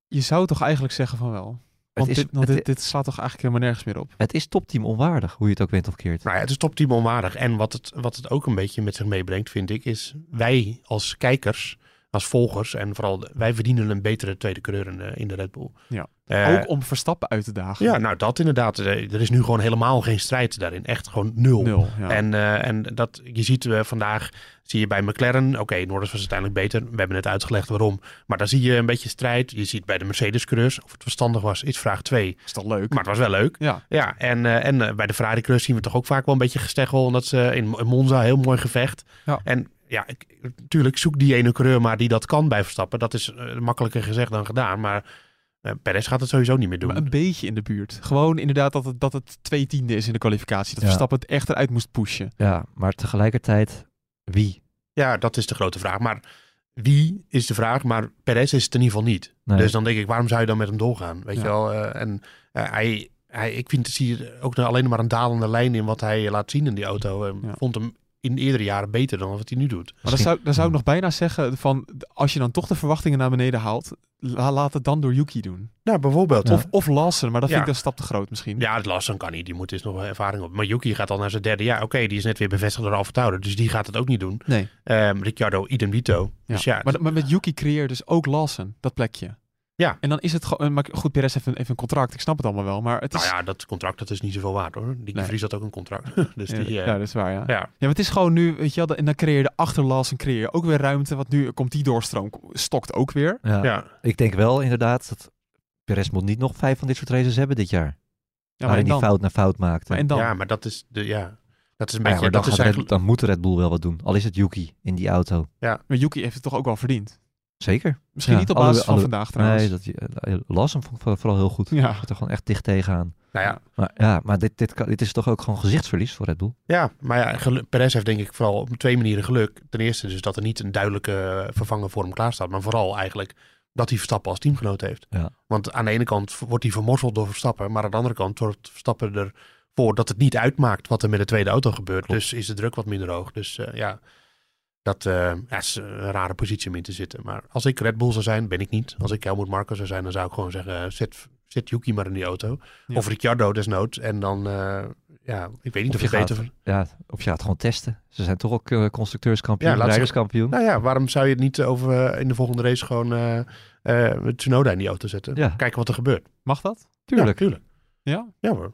S1: je zou toch eigenlijk zeggen van wel.
S3: Het
S1: Want,
S3: is,
S1: dit, want
S3: het,
S1: dit, dit slaat toch eigenlijk helemaal nergens meer op.
S3: het is topteam onwaardig, hoe je het ook wint of keert.
S2: Nou ja, het is topteam onwaardig. En wat het, wat het ook een beetje met zich meebrengt, vind ik... is wij als kijkers, als volgers... en vooral de- wij verdienen een betere tweede kleur in, de- in de Red Bull.
S1: Ja.
S2: Eh,
S1: ook om Verstappen uit te dagen.
S2: ja, nou dat inderdaad. Eh, Er is nu gewoon helemaal geen strijd daarin. Echt gewoon
S1: Nul. Ja.
S2: En, eh, en dat, je ziet eh, vandaag, zie je bij McLaren, oké, Norris was uiteindelijk beter. We hebben net uitgelegd waarom. Maar daar zie je een beetje strijd. Je ziet bij de Mercedes-coureurs, of het verstandig was, is vraag 2.
S1: is toch leuk?
S2: Maar het was wel leuk.
S1: ja.
S2: Ja, en, eh, en eh, bij de Ferrari-coureurs zien we toch ook vaak wel een beetje gesteggel. Omdat ze in, in Monza heel mooi gevecht.
S1: Ja.
S2: En ja, ik, natuurlijk zoek die ene coureur maar die dat kan bij Verstappen. Dat is eh, makkelijker gezegd dan gedaan. Maar eh, Perez gaat het sowieso niet meer doen.
S1: Maar een beetje in de buurt. Gewoon inderdaad dat het, dat het twee tiende is in de kwalificatie. Dat
S3: Ja.
S1: Verstappen het echt eruit moest pushen.
S3: Ja, maar tegelijkertijd, wie?
S2: Ja, dat is de grote vraag. Maar wie is de vraag? Maar Perez is het in ieder geval niet.
S3: Nee.
S2: Dus dan denk ik, waarom zou je dan met hem doorgaan? Weet
S1: Ja.
S2: je wel? eh, en eh, hij, hij, ik vind, zie hier ook nou alleen maar een dalende lijn in wat hij laat zien in die auto. Ik
S1: Ja.
S2: Vond hem in eerdere jaren beter dan wat hij nu doet.
S1: Maar dan zou, dan zou ik nog bijna zeggen van, als je dan toch de verwachtingen naar beneden haalt, la- laat het dan door Yuki doen.
S2: Nou, bijvoorbeeld.
S1: Of, of Lawson, maar dat
S2: Ja.
S1: vind ik een stap te groot misschien.
S2: Ja, het Lassen kan niet. Die moet dus nog wel ervaring op. Maar Yuki gaat al naar zijn derde jaar. Oké, die is net weer bevestigd door Alfa Tauri. Dus die gaat het ook niet doen.
S1: Nee.
S2: Ehm, Ricciardo, idem dito.
S1: Ja.
S2: Dus ja,
S1: maar, maar met Yuki creëer dus ook Lawson, dat plekje.
S2: Ja.
S1: En dan is het gewoon... Maar goed, Perez heeft een, heeft een contract, ik snap het allemaal wel. Maar het is...
S2: nou ja, dat contract dat is niet zoveel waard hoor. Die
S1: Nee.
S2: Vries had ook een contract. dus die,
S1: ja,
S2: eh,
S1: ja, dat is waar, ja. ja.
S2: ja.
S1: maar het is gewoon nu, weet je wel, de- en dan creëer je achter Lawson creëer je ook weer ruimte. Want nu komt die doorstroom, stokt ook weer.
S3: Ja,
S2: ja.
S3: Ik denk wel inderdaad dat Perez moet niet nog vijf van dit soort races hebben dit jaar.
S1: Ja, maar
S3: waarin
S1: en
S3: Ah, die
S1: dan?
S3: fout na fout maakte.
S1: Maar en dan?
S2: Ja, maar dat is de ja. Dat is een
S3: Ja,
S2: beetje...
S3: maar
S2: dat
S3: dan,
S2: is
S3: gaat Red,
S2: eigenlijk,
S3: dan moet Red Bull wel wat doen. Al is het Yuki in die auto.
S1: Maar Yuki heeft het toch ook wel verdiend.
S3: Zeker.
S1: Misschien
S3: Ja,
S1: niet op
S3: alle-
S1: basis van
S3: alle-
S1: vandaag trouwens.
S3: Nee, dat, eh, Lars hem vond ik vooral heel goed. Hij
S1: Ja.
S3: Gaat er gewoon echt dicht tegenaan.
S2: nou ja,
S3: Maar, ja, maar dit, dit, kan- dit is toch ook gewoon gezichtsverlies voor Red Bull?
S2: ja, maar ja, gelu- Perez heeft denk ik vooral op twee manieren geluk. Ten eerste dus dat er niet een duidelijke eh, vervanger voor hem klaar staat. Maar vooral eigenlijk dat hij Verstappen als teamgenoot heeft.
S3: Ja.
S2: Want aan de ene kant v- wordt hij vermorzeld door Verstappen. Maar aan de andere kant wordt Verstappen ervoor dat het niet uitmaakt wat er met de tweede auto gebeurt. Dus is de druk wat minder hoog. Dus eh, ja, dat eh, ja, is een rare positie om in te zitten. Maar als ik Red Bull zou zijn, ben ik niet. Als ik Helmut Marko zou zijn, dan zou ik gewoon zeggen... eh, Zet, zet Yuki maar in die auto.
S1: Ja.
S2: Of Ricciardo desnoods. En dan, eh, ja, ik weet niet
S3: Of
S2: of,
S3: je
S2: het beter...
S3: gaat- Ja, of je gaat gewoon testen. Ze zijn toch ook eh,
S2: Ja,
S3: constructeurskampioen,
S2: laat ze-
S3: rijderskampioen.
S2: Nou ja, waarom zou je het niet over eh, in de volgende race gewoon eh eh, Tsunoda in die auto zetten?
S3: Ja.
S2: Kijken wat er gebeurt.
S1: Mag dat?
S3: Tuurlijk.
S2: Ja, tuurlijk.
S1: Ja.
S2: Ja hoor.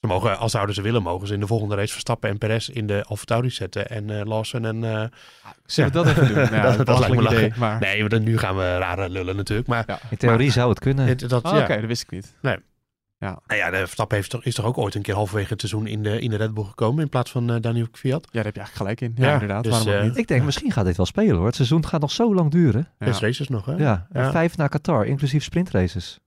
S2: Ze mogen, als zouden ze willen, mogen ze in de volgende race Verstappen en Perez in de Alfa Tauri zetten. En eh, Lawson en... eh,
S1: Zullen we dat even doen? Nou,
S2: Dat- dat
S1: belachelijk
S2: lijkt me
S1: idee,
S2: lachen.
S1: Maar...
S2: Nee, want dan- nu gaan we rare lullen natuurlijk. Maar
S1: Ja.
S3: In theorie
S2: Maar-
S3: zou het kunnen.
S2: het- dat,
S1: Oh,
S2: ja.
S1: Oké, dat wist ik niet.
S2: Nou ja, de Verstappen heeft toch, is toch ook ooit een keer halverwege het seizoen in de, in de Red Bull gekomen in plaats van eh, Daniel Kvyat.
S1: Ja, daar heb je eigenlijk gelijk in. Ja,
S2: Ja,
S1: inderdaad.
S2: dus,
S1: Waarom ook
S2: eh,
S1: niet?
S3: Ik denk, misschien gaat dit wel spelen hoor. Het seizoen gaat nog zo lang duren.
S1: Ja.
S2: Zes races nog, hè?
S3: Ja,
S2: Ja.
S3: vijf naar Qatar, inclusief sprintraces.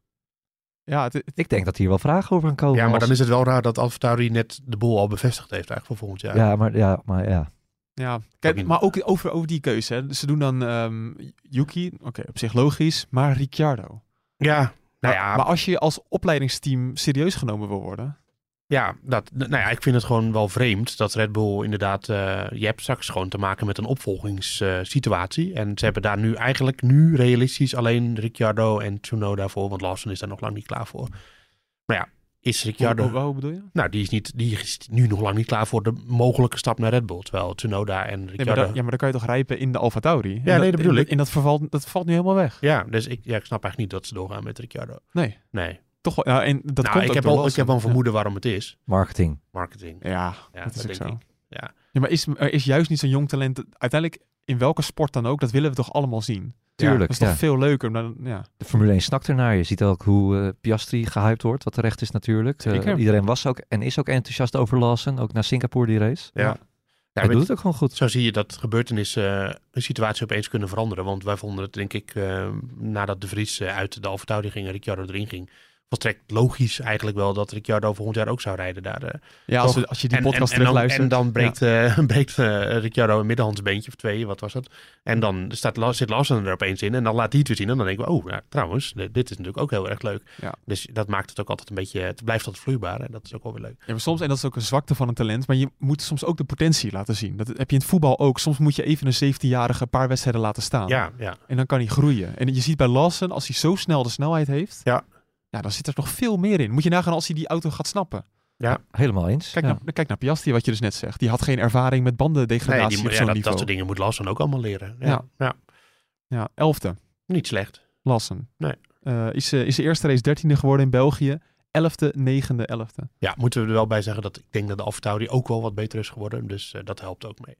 S1: Ja, het, het-
S3: Ik denk dat hier wel vragen over gaan komen.
S2: Ja, maar
S3: als-
S2: dan is het wel raar dat Alfa Tauri net de boel al bevestigd heeft eigenlijk voor volgend jaar.
S3: Ja, maar ja, maar ja.
S1: ja. Kijk,
S2: niet.
S1: maar ook over, over die keuze. Hè. Ze doen dan ehm, Yuki, oké, op zich logisch, maar Ricciardo.
S2: Ja, nou
S1: Maar-
S2: ja,
S1: Maar als je als opleidingsteam serieus genomen wil worden...
S2: Ja, dat, nou ja, ik vind het gewoon wel vreemd dat Red Bull inderdaad... eh, je hebt straks gewoon te maken met een opvolgingssituatie. en ze hebben daar nu eigenlijk nu realistisch alleen Ricciardo en Tsunoda voor. Want Lawson is daar nog lang niet klaar voor. Maar ja, is Ricciardo...
S1: Hoe, hoe- hoe bedoel je? Nee,
S2: Nou, die is, niet, die is nu nog lang niet klaar voor de mogelijke stap naar Red Bull. Terwijl Tsunoda en
S1: maar
S2: Ricciardo...
S1: daar- ja, maar dan kan je toch rijpen in de Alfa Tauri? En
S2: nee, dat bedoel
S1: in-
S2: ik.
S1: En dat, vervalt, dat valt nu helemaal weg.
S2: ja. dus ik, ja, ik snap eigenlijk niet dat ze doorgaan met Ricciardo.
S1: Nee,
S2: Nee.
S1: toch wel. Nou, en dat
S2: nou,
S1: komt
S2: ik,
S1: ook door
S2: heb wel, ik
S1: Lawson.
S2: heb wel een vermoeden waarom het is.
S3: Marketing.
S2: Marketing.
S1: Ja, ja,
S2: Ja,
S1: dat is ook
S2: denk
S1: zo.
S2: ik.
S1: Ja, maar is, er is juist niet zo'n jong talent... Uiteindelijk, in welke sport dan ook, dat willen we toch allemaal zien? Dat
S3: Tuurlijk.
S1: is
S3: Ja,
S1: toch veel leuker dan... Ja.
S3: De Formule 1 snakt ernaar. Je ziet ook hoe eh, Piastri gehyped wordt, wat terecht is natuurlijk. Eh,
S1: Zeker.
S3: iedereen was ook en is ook enthousiast over Lawson. Ook naar Singapore die race.
S2: Ja.
S1: Ja.
S2: ja.
S3: Hij
S2: weet-
S3: doet het ook gewoon goed.
S2: Zo zie je dat gebeurtenissen eh, een situatie opeens kunnen veranderen. Want wij vonden het, denk ik, eh, nadat De Vries eh, uit de Alfa Tauri ging en Ricciardo erin ging, volstrekt logisch eigenlijk wel dat Ricciardo volgend jaar ook zou rijden daar. eh.
S1: Ja, als,
S2: Toch?
S1: we- als je die
S2: En-
S1: podcast
S2: en, en, dan,
S1: terugluistert.
S2: en dan breekt, eh, breekt eh, Ricciardo een middenhandsbeentje of twee, wat was dat? En dan staat, La- zit Lawson er opeens in en dan laat hij het weer zien. En dan denken we, oh, ja, trouwens, dit dit is natuurlijk ook heel erg leuk.
S1: Ja.
S2: Dus dat maakt het ook altijd een beetje, het blijft altijd vloeibaar en dat is ook wel weer leuk.
S1: Ja, maar soms, en dat is ook een zwakte van een talent, maar je moet soms ook de potentie laten zien. Dat heb je in het voetbal ook. Soms moet je even een 17-jarige een paar wedstrijden laten staan.
S2: Ja, ja.
S1: En dan kan hij groeien. En je ziet bij Lawson, als hij zo snel de snelheid heeft,
S2: Ja.
S1: ja, dan zit er nog veel meer in. Moet je nagaan als hij die auto gaat snappen.
S3: Helemaal eens.
S1: Kijk,
S3: ja.
S1: naar, kijk naar Piastri, wat je dus net zegt. Die had geen ervaring met bandendegradatie
S2: Nee, die-
S1: op
S2: ja,
S1: zo'n
S2: dat, dat
S1: niveau.
S2: soort dingen moet Lawson ook allemaal leren.
S1: Ja.
S2: Ja, ja.
S1: Ja, elfde,
S2: niet slecht.
S1: Lawson.
S2: Nee.
S1: Eh, is, eh, is de eerste race dertiende geworden in België. Elfde, negende, elfde.
S2: Ja, moeten we er wel bij zeggen dat ik denk dat de Alfa die ook wel wat beter is geworden. Dus eh, dat helpt ook mee.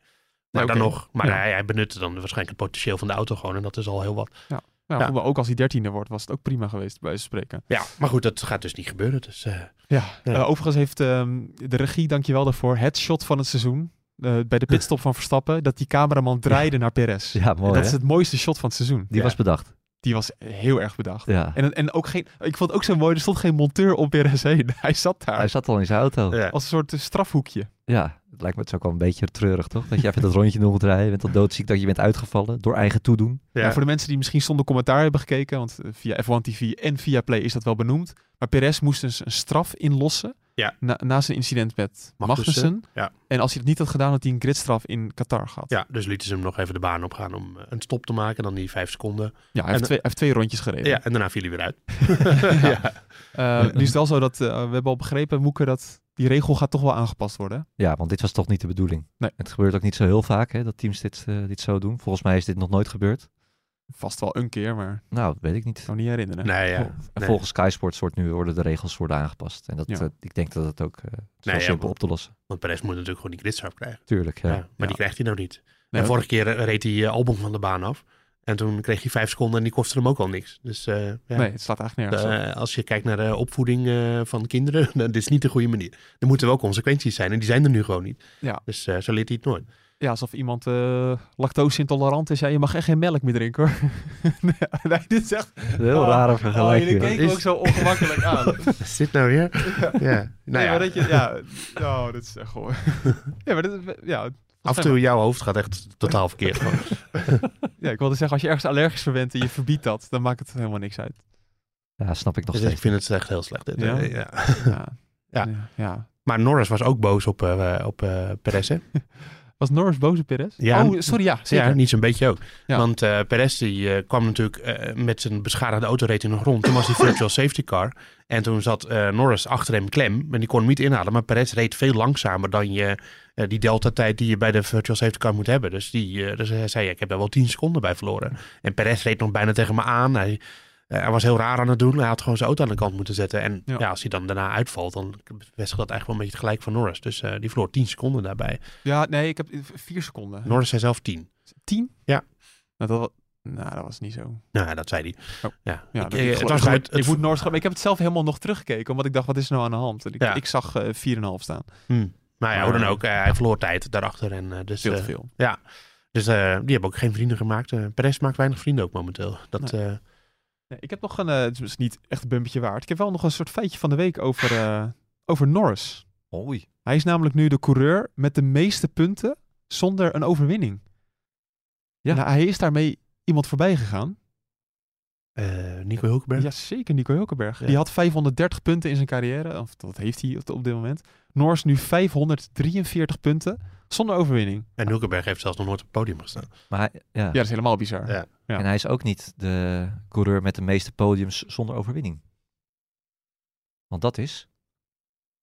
S2: Maar
S1: oké.
S2: dan nog, maar
S1: Ja.
S2: hij, hij benutte dan waarschijnlijk het potentieel van de auto gewoon. En dat is al heel wat.
S1: Nou,
S2: Ja.
S1: goed, maar ook als hij dertiende wordt, was het ook prima geweest, bij wijze van spreken.
S2: Ja, maar goed, dat gaat dus niet gebeuren. Dus eh,
S1: Ja,
S2: Ja.
S1: eh, overigens heeft ehm, de regie, dankjewel daarvoor, het shot van het seizoen. eh, bij de pitstop van Verstappen, dat die cameraman draaide naar Perez.
S3: Ja,
S1: En
S3: mooi
S1: dat
S3: hè?
S1: is het mooiste shot van het seizoen.
S3: Die
S2: Ja.
S3: was bedacht.
S1: Die was heel erg bedacht.
S3: Ja.
S1: En, en ook geen, ik vond het ook zo mooi, er stond geen monteur op Perez heen. Hij zat daar
S3: Hij zat al in zijn auto.
S2: ja.
S1: als een soort eh, strafhoekje.
S3: Ja, het lijkt me het ook wel een beetje treurig, toch? Dat je even dat rondje nog moet rijden. Je bent al doodziek dat je bent uitgevallen door eigen toedoen.
S2: Ja.
S1: Ja, Nou, voor de mensen die misschien zonder commentaar hebben gekeken, want eh, via F1 TV en via Play is dat wel benoemd. Maar Perez moest dus een straf inlossen
S2: Ja.
S1: na, na zijn incident met
S2: Magnussen,
S1: Magnussen.
S2: ja.
S1: En als hij dat niet had gedaan, had hij een gridstraf in Qatar gehad.
S2: ja, dus lieten ze hem nog even de baan opgaan om eh, een stop te maken. Dan die vijf seconden.
S1: Ja, hij, heeft
S2: En-
S1: twee, hij heeft twee rondjes gereden.
S2: Ja, en daarna viel hij weer uit. ja.
S1: Eh, nu is het wel zo dat, eh, we hebben al begrepen, Moeke, dat die regel gaat toch wel aangepast worden.
S3: Ja, want dit was toch niet de bedoeling.
S1: Nee.
S3: Het gebeurt ook niet zo heel vaak hè, dat teams dit, eh, dit zo doen. Volgens mij is dit nog nooit gebeurd.
S1: Vast wel een keer, maar
S3: Nou, dat weet ik niet.
S1: ik kan me niet herinneren.
S2: Nee, ja.
S3: Vol- en
S2: nee.
S3: Volgens Sky Sports wordt nu, worden de regels worden aangepast. En dat,
S1: Ja.
S3: eh, ik denk dat het ook eh, het is wel
S2: ja,
S3: simpel
S2: want-
S3: op te lossen.
S2: Want Perez moet natuurlijk gewoon die gridstraf krijgen.
S3: Tuurlijk, ja.
S2: Ja, maar
S1: Ja.
S2: die krijgt hij nou niet.
S1: Nee,
S2: en vorige keer eh, reed hij eh, Albon van de baan af. En toen kreeg hij vijf seconden en die kostte hem ook al niks. Dus eh, ja,
S1: Nee, het staat eigenlijk nergens op.
S2: eh, als je kijkt naar de opvoeding eh, van kinderen, dan, dit is niet de goede manier. Er moeten wel consequenties zijn en die zijn er nu gewoon niet.
S1: Ja.
S2: Dus eh, zo leert hij het nooit.
S1: Ja, alsof iemand eh, lactose-intolerant is. Ja, je mag echt geen melk meer drinken, hoor. nee, nee, dit is echt...
S3: Een heel
S1: Oh,
S3: rare
S1: Oh,
S3: vergelijking.
S1: jullie
S3: ja.
S1: keken
S2: Is-
S1: ook zo ongemakkelijk aan. Nee,
S2: Wat is dit nou weer? ja. Nou
S1: maar
S2: ja,
S1: dat je... Ja, oh, dit is echt gewoon... ja, maar dit... is- Ja,
S2: af en toe jouw hoofd gaat echt totaal verkeerd. gewoon.
S1: ja, ik wilde zeggen, als je ergens allergisch voor bent en je verbiedt dat, dan maakt het helemaal niks uit.
S3: Ja, snap ik nog
S2: Dus ik
S3: steeds.
S2: vind het echt heel slecht. dit.
S1: Ja?
S2: Eh, ja.
S1: Ja.
S2: Ja.
S1: ja.
S2: Maar Norris was ook boos op, eh op eh, Perez, hè?
S1: Was Norris boos op Perez?
S2: Ja.
S1: Oh, sorry, ja, zeker.
S2: Ja, niet zo'n beetje ook.
S1: Ja.
S2: Want eh Perez die, eh, kwam natuurlijk eh, met zijn beschadigde autoreet in de grond. Toen was die virtual safety car. En toen zat eh, Norris achter hem klem. En die kon hem niet inhalen. Maar Perez reed veel langzamer dan je, eh, die delta-tijd die je bij de virtual safety car moet hebben. Dus, die, eh, dus hij zei, ja, ik heb daar wel 10 seconden bij verloren. En Perez reed nog bijna tegen me aan. Hij, eh, hij was heel raar aan het doen. Hij had gewoon zijn auto aan de kant moeten zetten. En
S1: Ja.
S2: ja. als hij dan daarna uitvalt, dan bevestigt dat eigenlijk wel een beetje gelijk van Norris. Dus eh, die verloor 10 seconden daarbij.
S1: Ja, nee, ik heb vier seconden.
S2: Norris zei zelf 10.
S1: Tien?
S2: Ja.
S1: Nou, dat was, nou, dat was niet zo.
S2: Nou, ja, dat zei hij.
S1: Oh.
S2: Ja,
S1: Ja,
S2: ik,
S1: dat-
S2: eh,
S1: ik,
S2: het
S1: geloof-
S2: was
S1: ik,
S2: uit,
S1: moet- ik moet Norris gaan- maar Ik heb het zelf helemaal nog teruggekeken, omdat ik dacht, wat is er nou aan de hand? En ik,
S2: Ja.
S1: ik zag eh, 4,5 staan.
S2: Nou ja, hoe dan ook. eh, hij verloor tijd daarachter. En, eh, dus
S1: Hmm. Veel te
S2: eh,
S1: veel.
S2: dus eh, die hebben ook geen vrienden gemaakt. Eh Perez maakt weinig vrienden ook momenteel. Dat, eh,
S1: Nee, ik heb nog een, eh, het is niet echt een bumpetje waard. Ik heb wel nog een soort feitje van de week over, eh, over Norris.
S3: Oei.
S1: Hij is namelijk nu de coureur met de meeste punten zonder een overwinning. Ja.
S3: Ja.
S1: hij is daarmee iemand voorbij gegaan.
S2: eh, Nico Hulkenberg.
S1: Ja, zeker Nico Hulkenberg.
S2: Ja.
S1: Die had 530 punten in zijn carrière. Of dat heeft hij op- op dit moment. Norris nu 543 punten zonder overwinning.
S2: En Hulkenberg heeft zelfs nog nooit op het podium gestaan.
S3: Maar hij- ja.
S1: Ja, dat is helemaal bizar.
S2: Ja.
S1: ja.
S3: En hij is ook niet de coureur met de meeste podiums zonder overwinning. Want dat is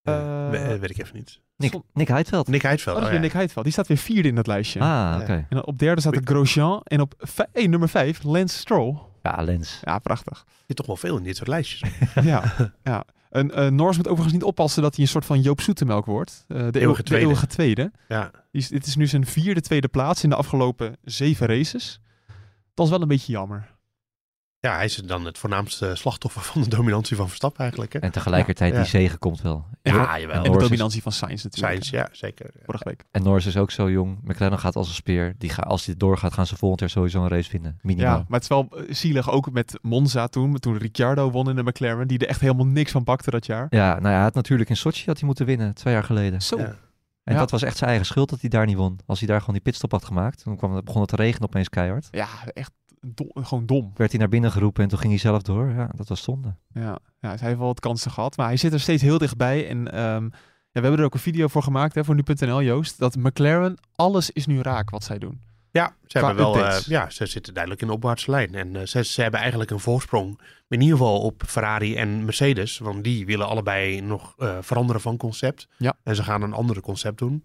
S1: Eh,
S2: We- eh, weet ik even niet.
S3: Nick,
S1: Zon-
S3: Nick Heidveld.
S2: Nick
S1: Oh,
S2: Heidveld.
S1: dat is
S2: oh
S1: weer
S2: ja.
S1: Nick Heidveld. Die staat weer vierde in dat lijstje.
S3: Ah,
S2: Ja.
S3: oké.
S1: En dan op derde staat de Grosjean. En op vij- eh, nummer vijf, Lance Stroll.
S3: Ja, Lens.
S1: Ja, prachtig.
S2: Er zit toch wel veel in dit soort lijstjes.
S1: ja. ja. En eh Norris moet overigens niet oppassen dat hij een soort van Joop Zoetemelk wordt. Eh, de, eeuw- de
S2: tweede.
S1: eeuwige tweede.
S2: ja.
S1: Die is- dit is nu zijn vierde tweede plaats in de afgelopen zeven races. Dat is wel een beetje jammer.
S2: ja, hij is dan het voornaamste slachtoffer van de dominantie van Verstappen eigenlijk. Hè?
S3: En tegelijkertijd
S2: Ja.
S3: die zegen komt wel.
S2: Ja, jawel.
S3: En
S1: En de
S3: Norris is-
S1: dominantie van Sainz natuurlijk.
S2: Sainz, ja, zeker.
S1: Vorige week.
S3: En Norris is ook zo jong. McLaren gaat als een speer. Die ga, als dit doorgaat, gaan ze volgend jaar sowieso een race vinden.
S1: Ja,
S3: Minimaal.
S1: maar het is wel eh, zielig ook met Monza toen. Toen Ricciardo won in de McLaren. Die er echt helemaal niks van bakte dat jaar.
S3: Ja, nou ja, hij had natuurlijk in Sochi had hij moeten winnen, twee jaar geleden.
S1: Zo.
S2: Ja.
S3: En
S1: Ja.
S3: dat was echt zijn eigen schuld dat hij daar niet won. Als hij daar gewoon die pitstop had gemaakt, toen kwam, begon het te regenen opeens keihard.
S1: Ja, echt do- gewoon dom.
S3: Werd hij naar binnen geroepen en toen ging hij zelf door. Ja, dat was zonde.
S1: Ja. ja, dus hij heeft wel wat kansen gehad. Maar hij zit er steeds heel dichtbij. En ehm, ja, we hebben er ook een video voor gemaakt hè, voor nu.nl, Joost. Dat McLaren, alles is nu raak wat zij doen.
S2: Ja, ze,
S1: Qua
S2: hebben wel, eh,
S1: updates.
S2: ja, ze zitten duidelijk in de opwaartse lijn. En eh, ze, ze hebben eigenlijk een voorsprong, in ieder geval op Ferrari en Mercedes. Want die willen allebei nog eh, veranderen van concept.
S1: Ja.
S2: En ze gaan een ander concept doen.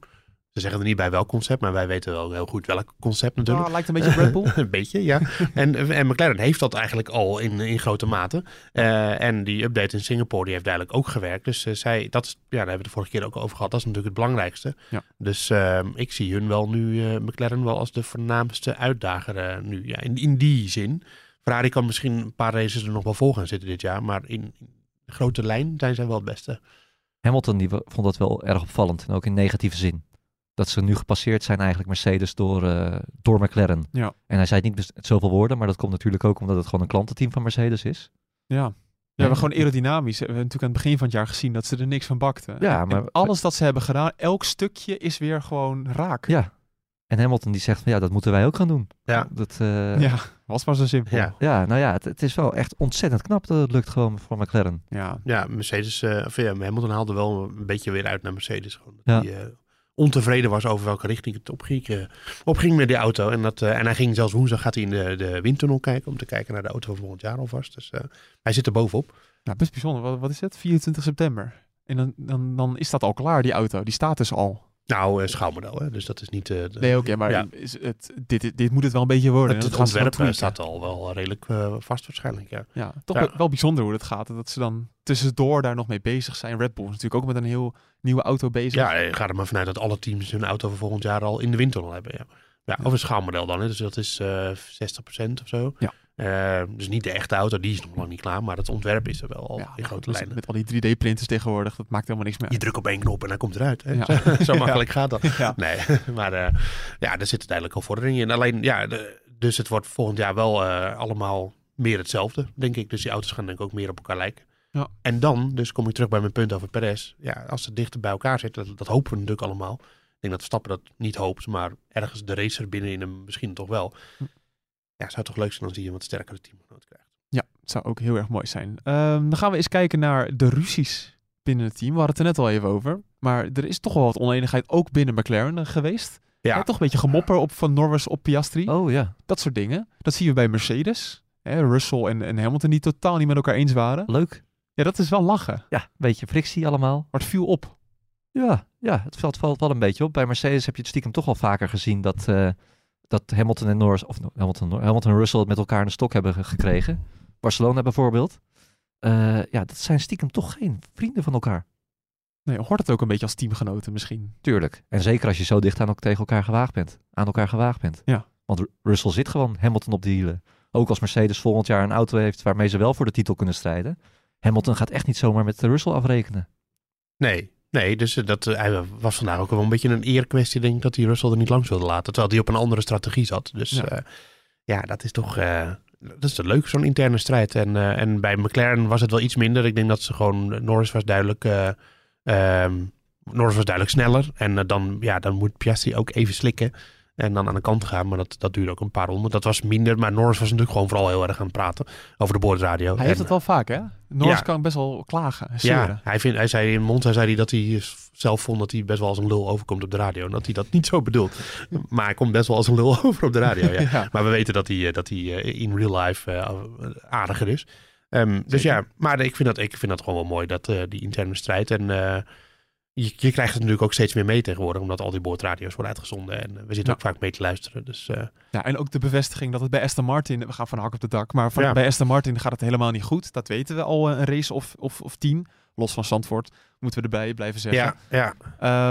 S2: Ze zeggen er niet bij welk concept, maar wij weten wel heel goed welk concept natuurlijk.
S1: Ja, Ah, lijkt een beetje op Red Bull.
S2: Een beetje, ja. en, eh, en McLaren heeft dat eigenlijk al in, in grote mate. Eh, en die update in Singapore die heeft duidelijk ook gewerkt. Dus eh, zij, dat, is- ja, daar hebben we het de vorige keer ook over gehad. Dat is natuurlijk het belangrijkste.
S1: Ja.
S2: Dus ehm, ik zie hun wel nu, eh, McLaren wel als de voornaamste uitdager eh, nu. Ja, in, in die zin. Ferrari kan misschien een paar races er nog wel voor gaan zitten dit jaar. Maar in, in de grote lijn zijn zij wel het beste.
S3: Hamilton die wa- vond dat wel erg opvallend en ook in negatieve zin. Dat ze nu gepasseerd zijn eigenlijk Mercedes door, eh, door McLaren.
S1: Ja.
S3: En hij zei het niet met met zoveel woorden, maar dat komt natuurlijk ook omdat het gewoon een klantenteam van Mercedes is.
S1: Ja. Ja, maar gewoon aerodynamisch. We hebben natuurlijk aan het begin van het jaar gezien dat ze er niks van bakten.
S3: Ja,
S1: En
S3: maar-
S1: alles dat ze hebben gedaan, elk stukje is weer gewoon raak.
S3: Ja. En Hamilton die zegt van ja, dat moeten wij ook gaan doen.
S2: Ja.
S3: Dat, eh,
S1: Ja, was maar zo simpel.
S2: Ja.
S3: Ja, nou ja, het, het is wel echt ontzettend knap dat het lukt gewoon voor McLaren.
S1: ja.
S2: Ja, Mercedes, eh of ja, Hamilton haalde wel een beetje weer uit naar Mercedes. Gewoon.
S3: Ja.
S2: Die eh, ontevreden was over welke richting het opging, eh, opging met die auto. En, dat, eh, en hij ging zelfs woensdag gaat hij in de, de windtunnel kijken om te kijken naar de auto van volgend jaar alvast. Dus eh, hij zit er bovenop.
S1: Nou, best bijzonder. Wat, wat is het? 24 september. En dan, dan, dan is dat al klaar, die auto. Die staat dus al.
S2: Nou, eh, schaalmodel, hè? dus dat is niet... eh, de-
S1: Nee, oké, maar
S2: Ja.
S1: is het, dit, dit, dit moet het wel een beetje worden.
S2: het,
S1: En
S2: het
S1: dat gaan ze dan
S2: ontwerp eh,
S1: tweaken.
S2: staat al wel redelijk eh, vast waarschijnlijk, ja.
S1: Ja, toch
S2: Ja.
S1: wel- wel bijzonder hoe dat gaat. Dat ze dan tussendoor daar nog mee bezig zijn. Red Bull is natuurlijk ook met een heel nieuwe auto bezig.
S2: Ja, eh, ga er maar vanuit dat alle teams hun auto voor volgend jaar al in de windtunnel hebben, ja. Ja, of een schaalmodel dan. Hè. Dus dat is eh 60% of zo.
S1: Ja.
S2: Eh, dus niet de echte auto, die is nog lang niet klaar. Maar het ontwerp is er wel al in grote
S1: met-
S2: lijnen.
S1: Met al die 3D-printers tegenwoordig, dat maakt helemaal niks meer
S2: Je
S1: uit.
S2: drukt op één knop en dan komt het eruit. Hè?
S1: Ja.
S2: Zo, zo
S1: Ja.
S2: makkelijk gaat dat.
S1: Ja.
S2: Nee, maar eh, ja, er zitten duidelijk al vorderingen in. Alleen, ja, de- dus het wordt volgend jaar wel eh, allemaal meer hetzelfde, denk ik. Dus die auto's gaan denk ik ook meer op elkaar lijken.
S1: Ja.
S2: En dan, dus kom ik terug bij mijn punt over Perez. Ja, als ze dichter bij elkaar zitten, dat, dat hopen we natuurlijk allemaal. Ik denk dat Stappen dat niet hoopt, maar ergens de racer binnenin hem misschien toch wel.
S1: Hm.
S2: Ja, zou toch leuk zijn als hij een wat sterkere teamgenoot krijgt.
S1: Ja, het zou ook heel erg mooi zijn. Ehm, dan gaan we eens kijken naar de ruzies binnen het team. We hadden het er net al even over. Maar er is toch wel wat oneenigheid ook binnen McLaren eh, geweest.
S2: Ja.
S1: Hè, toch een beetje gemopper op van Norris op Piastri.
S3: Oh ja,
S1: Dat soort dingen. Dat zien we bij Mercedes. Hè, Russell en, en Hamilton die totaal niet met elkaar eens waren.
S3: leuk.
S1: Ja, dat is wel lachen.
S3: Ja, beetje frictie allemaal.
S1: Maar het viel op.
S3: Ja, ja het valt, valt wel een beetje op. Bij Mercedes heb je het stiekem toch al vaker gezien dat, eh, dat Hamilton en Norris, of no- Hamilton, Nor- Hamilton en Russell het met elkaar in de stok hebben ge- gekregen. Barcelona bijvoorbeeld. Eh, ja, dat zijn stiekem toch geen vrienden van elkaar.
S1: Nee, hoort het ook een beetje als teamgenoten misschien.
S3: Tuurlijk. En zeker als je zo dicht aan, elk- tegen elkaar gewaagd bent. Aan elkaar gewaagd bent.
S1: Ja.
S3: Want Ru- Russell zit gewoon Hamilton op de hielen. Ook als Mercedes volgend jaar een auto heeft waarmee ze wel voor de titel kunnen strijden. Hamilton gaat echt niet zomaar met eh, Russell afrekenen.
S2: Nee, nee dus eh, dat eh, hij was vandaag ook wel een beetje een eerkwestie, denk ik, dat hij Russell er niet langs wilde laten. Terwijl hij op een andere strategie zat. Dus
S1: Ja.
S2: ja, ja dat is toch. eh, dat is toch leuk, zo'n interne strijd. En, eh, en bij McLaren was het wel iets minder. Ik denk dat ze gewoon. Norris was duidelijk. eh, ehm, Norris was duidelijk sneller. En eh, dan, ja, dan moet Piastri ook even slikken. En dan aan de kant gaan. Maar dat, dat duurde ook een paar ronden. Dat was minder. Maar Norris was natuurlijk gewoon vooral heel erg aan het praten. Over de boordradio.
S1: Hij heeft
S2: Oh, En-
S1: het wel vaak, hè? Norris
S2: Ja.
S1: kan best wel klagen en zeuren.
S2: ja, hij, vindt, hij zei in Monza zei hij dat hij s- zelf vond dat hij best wel als een lul overkomt op de radio. En dat hij dat niet zo bedoelt. Maar hij komt best wel als een lul over op de radio. Ja.
S1: Ja.
S2: Maar we weten dat hij, eh, dat hij eh, in real life eh, aardiger is. Ehm, dus
S1: Zeker.
S2: ja, maar ik vind dat, ik vind dat gewoon wel mooi, dat, eh, die interne strijd. En eh, je, je krijgt het natuurlijk ook steeds meer mee tegenwoordig, omdat al die boordradio's worden uitgezonden. En eh, we zitten ook vaak mee te luisteren. Dus eh,
S1: Ja, en ook de bevestiging dat het bij Aston Martin, we gaan van hak op de dak, maar van,
S2: Ja.
S1: bij Aston Martin gaat het helemaal niet goed. Dat weten we al eh, een race of, of, of tien, los van Zandvoort, moeten we erbij blijven zeggen.
S2: ja, ja.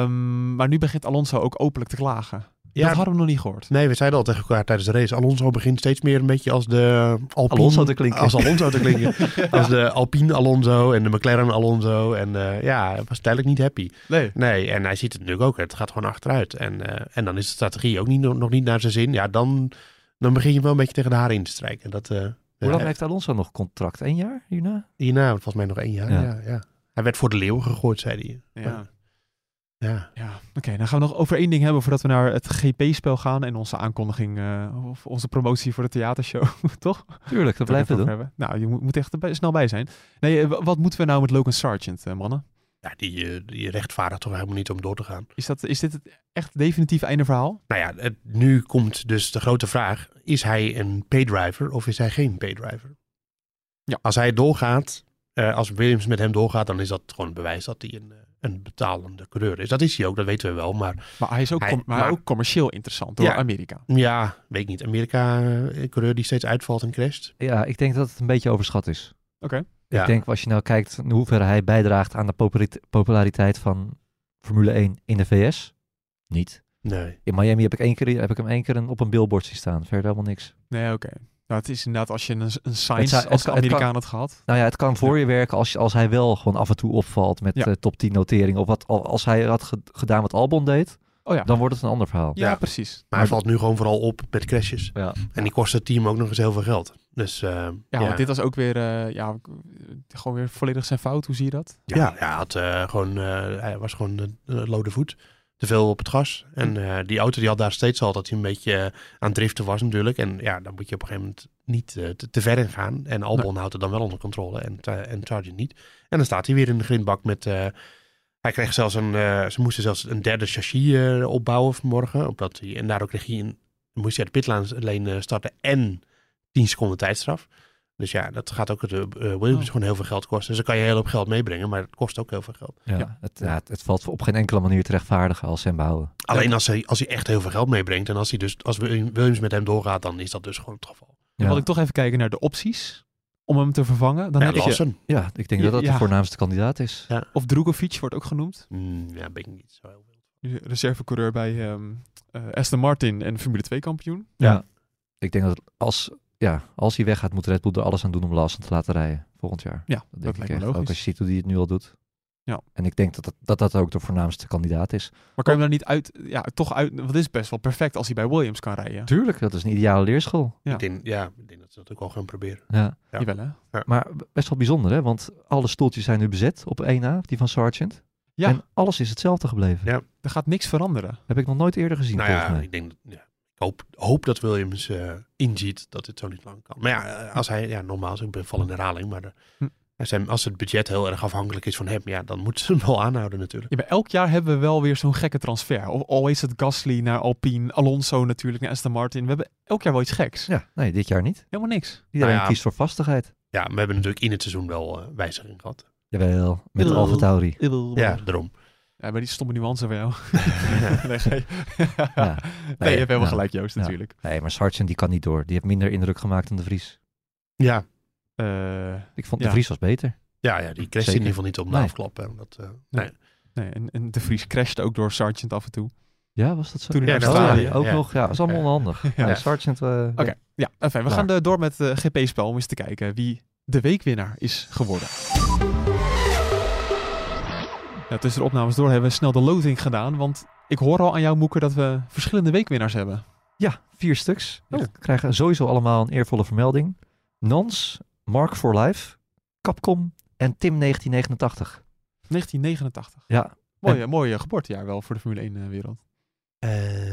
S1: Ehm, maar nu begint Alonso ook openlijk te klagen.
S2: ja.
S1: Dat hadden we nog niet gehoord.
S2: Nee, we zeiden al tegen elkaar tijdens de race. Alonso begint steeds meer een beetje als de Alpine.
S3: Alonso te klinken.
S2: Als Alonso te klinken. Als de Alpine Alonso en de McLaren Alonso. En eh, ja, hij was duidelijk niet happy.
S1: Nee.
S2: Nee, en hij ziet het natuurlijk ook. Het gaat gewoon achteruit. En, eh, en dan is de strategie ook niet, nog niet naar zijn zin. Ja, dan, dan begin je wel een beetje tegen de haren in te strijken. Dat, eh,
S3: Hoe lang
S2: eh,
S3: heeft Alonso nog contract? Eén jaar hierna?
S2: Hierna, volgens mij nog één jaar.
S3: Ja.
S2: Ja. Ja, Hij werd voor de leeuw gegooid, zei hij.
S1: Ja.
S2: Ja.
S1: Ja, oké. dan gaan we nog over één ding hebben voordat we naar het GP-spel gaan en onze aankondiging eh, of onze promotie voor de theatershow, toch?
S3: Tuurlijk, dat blijven we doen.
S1: Hebben. Nou, je moet, moet echt erbij- snel bij zijn. Nee, eh, wa- wat moeten we nou met Logan Sargent, eh, mannen?
S2: Ja, die, eh, die rechtvaardigt toch helemaal niet om door te gaan.
S1: Is, dat, is dit het echt definitief einde verhaal?
S2: Nou ja, het- nu komt dus de grote vraag: is hij een paydriver of is hij geen paydriver?
S1: Ja.
S2: Als hij doorgaat, eh, als Williams met hem doorgaat, dan is dat gewoon een bewijs dat hij een, eh, een betalende coureur is. Dat is hij ook, dat weten we wel. Maar
S1: Maar hij is ook,
S2: Hij-
S1: com- maar
S2: maar-
S1: ook commercieel interessant door
S2: Ja.
S1: Amerika.
S2: ja, weet ik niet. Amerika, eh, een coureur die steeds uitvalt en crasht.
S3: Ja, ik denk dat het een beetje overschat is.
S1: Oké.
S2: Ja.
S3: Ik denk als je nou kijkt in hoeverre hij bijdraagt aan de popularit- populariteit van Formule 1 in de VS. Niet.
S2: Nee.
S3: In Miami heb ik, één keer, heb ik hem één keer een, op een billboard zien staan. Verder helemaal niks.
S1: Nee, oké. Nou, het is inderdaad als je een, een
S3: Het
S1: science
S3: zou- het
S1: als de
S3: kan- het kan-
S1: Amerikaan het gehad.
S3: Nou ja, het kan voor je werken als, je- als hij wel gewoon af en toe opvalt met
S1: Ja.
S3: eh, top 10 noteringen. Of wat, al- als hij had ge- gedaan wat Albon deed,
S1: Oh ja.
S3: dan wordt het een ander verhaal.
S1: ja,
S2: Ja.
S1: precies.
S2: Maar hij valt nu gewoon vooral op met crashes.
S3: Ja.
S2: En die kost het team ook nog eens heel veel geld. Dus eh,
S1: Ja, want dit was ook weer, eh, ja, gewoon weer volledig zijn fout. Hoe zie je dat?
S2: Ja, ja, hij, had, eh, gewoon, eh, hij was gewoon eh, lode voet. Te veel op het gas. En eh, die auto die had daar steeds al dat hij een beetje eh, aan het driften was natuurlijk. En ja, dan moet je op een gegeven moment niet eh, te, te ver in gaan. En Albon houdt het dan wel onder controle en, Tra- en Sargent niet. En dan staat hij weer in de grindbak met... eh, hij kreeg zelfs een... eh, ze moesten zelfs een derde chassis eh, opbouwen vanmorgen. Omdat hij, en daardoor kreeg hij een, moest hij uit de pitlaan alleen eh, starten en 10 seconden tijdstraf. Dus ja, dat gaat ook het eh, Williams
S1: Oh.
S2: gewoon heel veel geld kosten. Dus dan kan je heel veel geld meebrengen, maar het kost ook heel veel geld.
S3: Ja,
S1: Ja.
S3: Het, ja, het, het valt op geen enkele manier te rechtvaardigen als ze hem behouden.
S2: Alleen als hij, als hij echt heel veel geld meebrengt en als, hij dus, als Wil- Williams met hem doorgaat, dan is dat dus gewoon het geval.
S1: Dan
S3: Ja,
S1: wil ik toch even kijken naar de opties om hem te vervangen. Dan
S2: Ja,
S1: heb je,
S2: Lassen?
S3: ja ik denk dat dat
S1: Ja.
S3: de voornaamste kandidaat is.
S1: Of Drogovic wordt ook genoemd.
S2: Mm, ja, ben ik niet zo heel wild.
S1: nu reservecoureur bij ehm, eh, Aston Martin en Formule 2 kampioen.
S3: Ja. Ik denk dat het als, ja, als hij weggaat, moet Red Bull er alles aan doen om Lawson te laten rijden volgend jaar.
S1: Ja,
S3: Dat,
S1: dat
S3: denk
S1: lijkt
S3: ik
S1: me
S3: echt.
S1: logisch.
S3: Ook als je ziet hoe hij het nu al doet.
S1: Ja.
S3: En ik denk dat dat, dat dat ook de voornaamste kandidaat is.
S1: Maar kan je hem dan niet uit, ja, toch uit, want het is best wel perfect als hij bij Williams kan rijden.
S3: Tuurlijk, dat is een ideale leerschool.
S1: Ja.
S2: Ik denk, ja, ik denk dat ze dat ook wel gaan proberen.
S3: Ja.
S2: Ja.
S1: Jawel, hè?
S3: Maar best wel bijzonder, hè? Want alle stoeltjes zijn nu bezet op 1A, die van Sargent.
S1: Ja.
S3: En alles is hetzelfde gebleven.
S2: Ja.
S1: Er gaat niks veranderen.
S3: Heb ik nog nooit eerder gezien,
S2: nou
S3: volgens
S2: ja,
S3: mij.
S2: ik denk, ja, ik hoop, hoop dat Williams eh, inziet dat dit zo niet lang kan. Maar ja, eh, als hij, ja, normaal, ik ben vol in herhaling, maar de-
S1: Hm.
S2: als, hem, als het budget heel erg afhankelijk is van hem, ja, dan moeten ze hem wel aanhouden natuurlijk.
S1: Ja, maar elk jaar hebben we wel weer zo'n gekke transfer. Of al is het Gasly naar Alpine, Alonso natuurlijk naar Aston Martin. We hebben elk jaar wel iets geks.
S3: Ja, nee, dit jaar niet.
S1: Helemaal niks.
S3: Iedereen
S2: Nou ja.
S3: kiest voor vastigheid.
S2: Ja, we hebben natuurlijk in het seizoen wel eh, wijziging gehad.
S3: Jawel, met
S1: Jawel.
S3: Alfa Tauri.
S2: Ja, daarom.
S1: Ja, maar die stomme nuance van jou.
S2: Ja.
S1: nee, nee.
S3: Ja.
S1: nee, je hebt helemaal
S3: ja.
S1: gelijk, Joost,
S3: Ja.
S1: natuurlijk.
S3: Nee, maar Sargent die kan niet door. Die heeft minder indruk gemaakt dan De Vries.
S2: Ja,
S1: Eh,
S3: Ik vond
S1: Ja.
S3: De Vries was beter.
S2: ja, ja, die crasht in
S3: Zeker.
S2: ieder geval niet op de
S3: Nee.
S2: afklap. Hè, omdat, eh, nee.
S1: nee, en, en De Vries crashte ook door Sargent af en toe.
S3: Ja, was dat zo?
S1: Toen in
S2: Ja,
S3: Oh,
S1: Australië.
S3: ja, ook
S2: Ja.
S3: nog. Ja, dat is allemaal
S2: Ja.
S3: onhandig.
S1: Ja.
S3: Ja. Sargent... eh,
S1: Oké, ja, enfin, we
S3: Klaar.
S1: gaan eh, door met eh GP-spel om eens te kijken wie de weekwinnaar is geworden. Ja, tussen de opnames door hebben we snel de loting gedaan, want ik hoor al aan jou, Moeker, dat we verschillende weekwinnaars hebben.
S3: Ja, vier stuks.
S1: Oh.
S3: Die krijgen sowieso allemaal een eervolle vermelding. Nans, Mark for Life, Capcom en Tim 1989.
S1: 1989.
S3: Ja,
S1: Mooie, mooie eh, geboortejaar wel voor de Formule 1-wereld.
S2: Eh,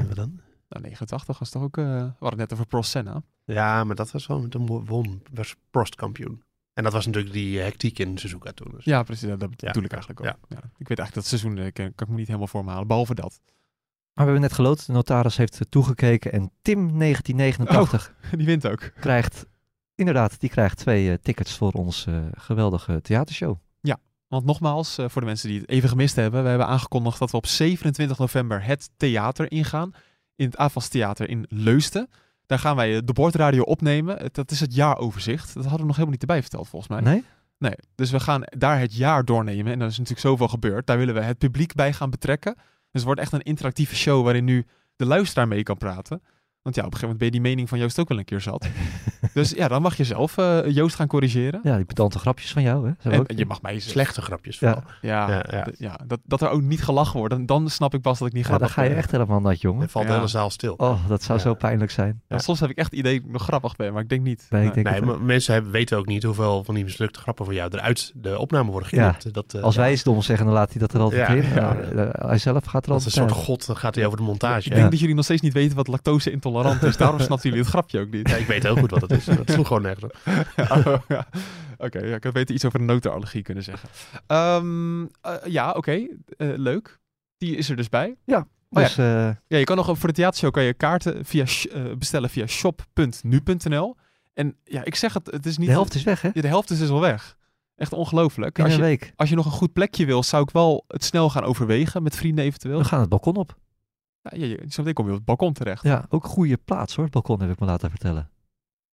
S2: wat dan?
S1: nou, 89 was toch ook... eh, we hadden het net over Prost Senna.
S2: Ja, maar dat was wel, met een won, was Prost kampioen. En dat was natuurlijk die eh, hectiek in Suzuka toen. Dus.
S1: Ja, precies. Dat dat
S2: Ja.
S1: bedoel ik eigenlijk ook.
S2: Ja.
S1: Ja. Ik weet eigenlijk dat seizoen, eh, kan, kan ik me niet helemaal voor me halen, behalve dat.
S3: maar we hebben net geloot. De notaris heeft eh, toegekeken en Tim 1989
S1: Die wint ook.
S3: krijgt... Inderdaad, die krijgt twee eh, tickets voor onze eh, geweldige theatershow.
S1: Want nogmaals, eh, voor de mensen die het even gemist hebben, we hebben aangekondigd dat we op 27 november het theater ingaan. In het AFAS Theater in Leusden. Daar gaan wij eh, de bordradio opnemen. Het- Dat is het jaaroverzicht. Dat hadden we nog helemaal niet erbij verteld, volgens mij.
S3: Nee?
S1: Nee, dus we gaan daar het jaar doornemen. En er is natuurlijk zoveel gebeurd. Daar willen we het publiek bij gaan betrekken. Dus het wordt echt een interactieve show waarin nu de luisteraar mee kan praten. Want ja, op een gegeven moment ben je die mening van Joost ook wel een keer zat. dus ja, dan mag je zelf eh, Joost gaan corrigeren.
S3: Ja, die pedante grapjes van jou, hè? Zijn we
S1: En,
S3: ook-
S1: en je mag mij slecht.
S2: Slechte grapjes
S3: Ja.
S2: vooral.
S1: Ja,
S2: Ja, ja.
S1: d- ja, dat, dat er ook niet gelachen wordt. Dan, dan snap ik pas dat ik niet
S3: Ja,
S1: grappig
S3: dan ga je
S1: ben.
S3: echt helemaal nat, jongen.
S2: Dan valt de
S1: Ja.
S2: hele zaal stil.
S3: Oh, dat zou
S2: Ja.
S3: zo pijnlijk zijn.
S1: Ja, soms heb ik echt het idee dat ik nog grappig ben, maar ik denk niet.
S3: Nee, ik denk
S2: Nee,
S3: het
S2: maar mensen hebben, weten ook niet hoeveel van die mislukte grappen van jou eruit de opname worden
S3: Ja.
S2: geknipt. Dat, eh,
S3: Als wij
S2: ja,
S3: iets doms zeggen, dan laat hij dat er altijd
S2: Ja,
S3: in.
S2: ja.
S3: Eh, eh, hij zelf gaat er
S2: dat is een
S3: altijd
S2: soort
S3: uit.
S2: god, dan gaat hij over de montage.
S1: Ik
S2: Ja.
S1: denk dat jullie nog steeds niet weten wat lactose intolerant is. Daarom snapten jullie het grapje ook niet.
S2: Ja, ik weet heel goed wat het is. Dat sloeg gewoon nergens op.
S1: Oh, ja. Oké, ja, ik had beter iets over een notenallergie kunnen zeggen. Ehm, eh, ja, oké. eh, leuk. Die is er dus bij. Oh ja.
S3: Dus eh,
S1: Ja, je kan nog voor de theatershow kan je kaarten via, sh- eh, bestellen via shop.nu.nl. En ja, ik zeg het, het is niet...
S3: de helft is weg, hè?
S1: Ja, de helft is dus al weg. Echt ongelooflijk.
S3: In
S1: Als
S3: een
S1: je,
S3: week.
S1: als je nog een goed plekje wil, zou ik wel het snel gaan overwegen met vrienden eventueel.
S3: We gaan het balkon op.
S1: Ja, je, je, zometeen kom je op het balkon terecht.
S3: Ja, ook goede plaats hoor, het balkon heb ik me laten vertellen.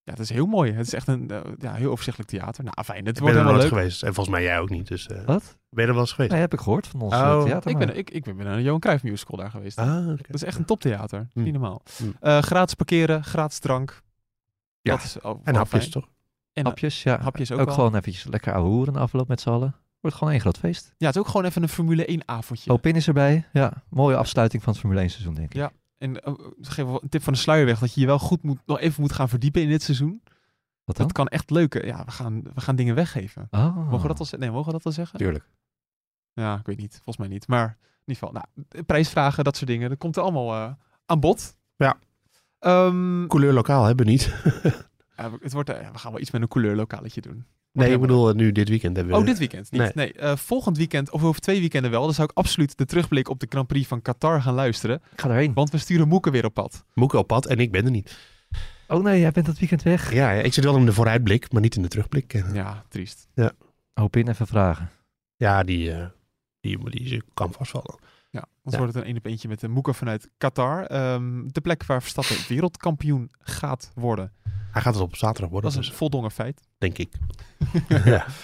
S1: Ja, het is heel mooi. Het is echt een eh, ja, heel overzichtelijk theater. Nou, fijn, het
S2: Ik ben
S1: wordt
S2: er
S1: helemaal
S2: nooit
S1: leuk.
S2: geweest. En volgens mij jij ook niet. Dus, eh,
S3: Wat?
S2: Ben je er wel eens geweest?
S3: Nee, heb ik gehoord van ons
S2: Oh,
S3: eh,
S1: Ik
S3: theatermaker.
S1: ben, ik, ik ben naar de Johan Cruijff musical daar geweest.
S2: Ah, oké.
S1: Dat is echt een toptheater.
S2: Hmm.
S1: Niet normaal.
S2: Hmm.
S1: Eh, gratis parkeren, gratis drank.
S2: Ja.
S1: Dat is al,
S2: En hapjes toch?
S1: En hapjes.
S3: Hapjes, ja.
S1: Hapjes ook
S3: ook
S1: wel.
S3: gewoon eventjes lekker ouwe hoeren afloop met z'n allen. Wordt gewoon één groot feest.
S1: Ja, het is ook gewoon even een Formule 1 avondje.
S2: Oh.
S3: Opin is erbij. Ja, mooie afsluiting van het Formule 1 seizoen, denk ik.
S1: Ja. En eh, ze geven wel een tip van de sluier weg dat je je wel goed moet, nog even moet gaan verdiepen in dit seizoen.
S3: Wat
S2: Oh.
S3: dan?
S1: Dat kan echt leuk. eh, Ja, we gaan, we gaan dingen weggeven.
S3: Oh.
S1: Mogen we dat al, ze- nee, mogen we dat al zeggen?
S3: Tuurlijk.
S1: Ja, ik weet niet. Volgens mij niet. Maar in ieder geval, nou, prijsvragen, dat soort dingen. Dat komt er allemaal eh, aan bod.
S2: Ja.
S1: Ehm,
S2: Couleur lokaal hebben we niet.
S1: ja, we- het wordt, eh, we gaan wel iets met een couleurlokaletje doen.
S2: Nee, ik
S1: helemaal-
S2: bedoel eh, nu dit weekend hebben we...
S1: Oh, dit weekend niet. Nee,
S2: Nee.
S1: eh, volgend weekend of over twee weekenden wel. Dan zou ik absoluut de terugblik op de Grand Prix van Qatar gaan luisteren.
S3: Ik ga erheen.
S1: Want we sturen Moeken weer op pad.
S2: Moeke op pad en ik ben er niet.
S3: Oh nee, jij bent dat weekend weg.
S2: Ja, ja, ik zit wel in de vooruitblik, maar niet in de terugblik. Eh,
S1: Ja, triest.
S3: Opin even vragen.
S2: Ja, die, eh, die, die, die kan vast wel.
S1: Ja, anders
S2: Ja.
S1: wordt het een een op eentje met de Moeken vanuit Qatar. Ehm, de plek waar Verstappen wereldkampioen gaat worden.
S2: Hij gaat het op zaterdag worden,
S1: Dat is een
S2: dus,
S1: voldongen feit.
S2: denk ik.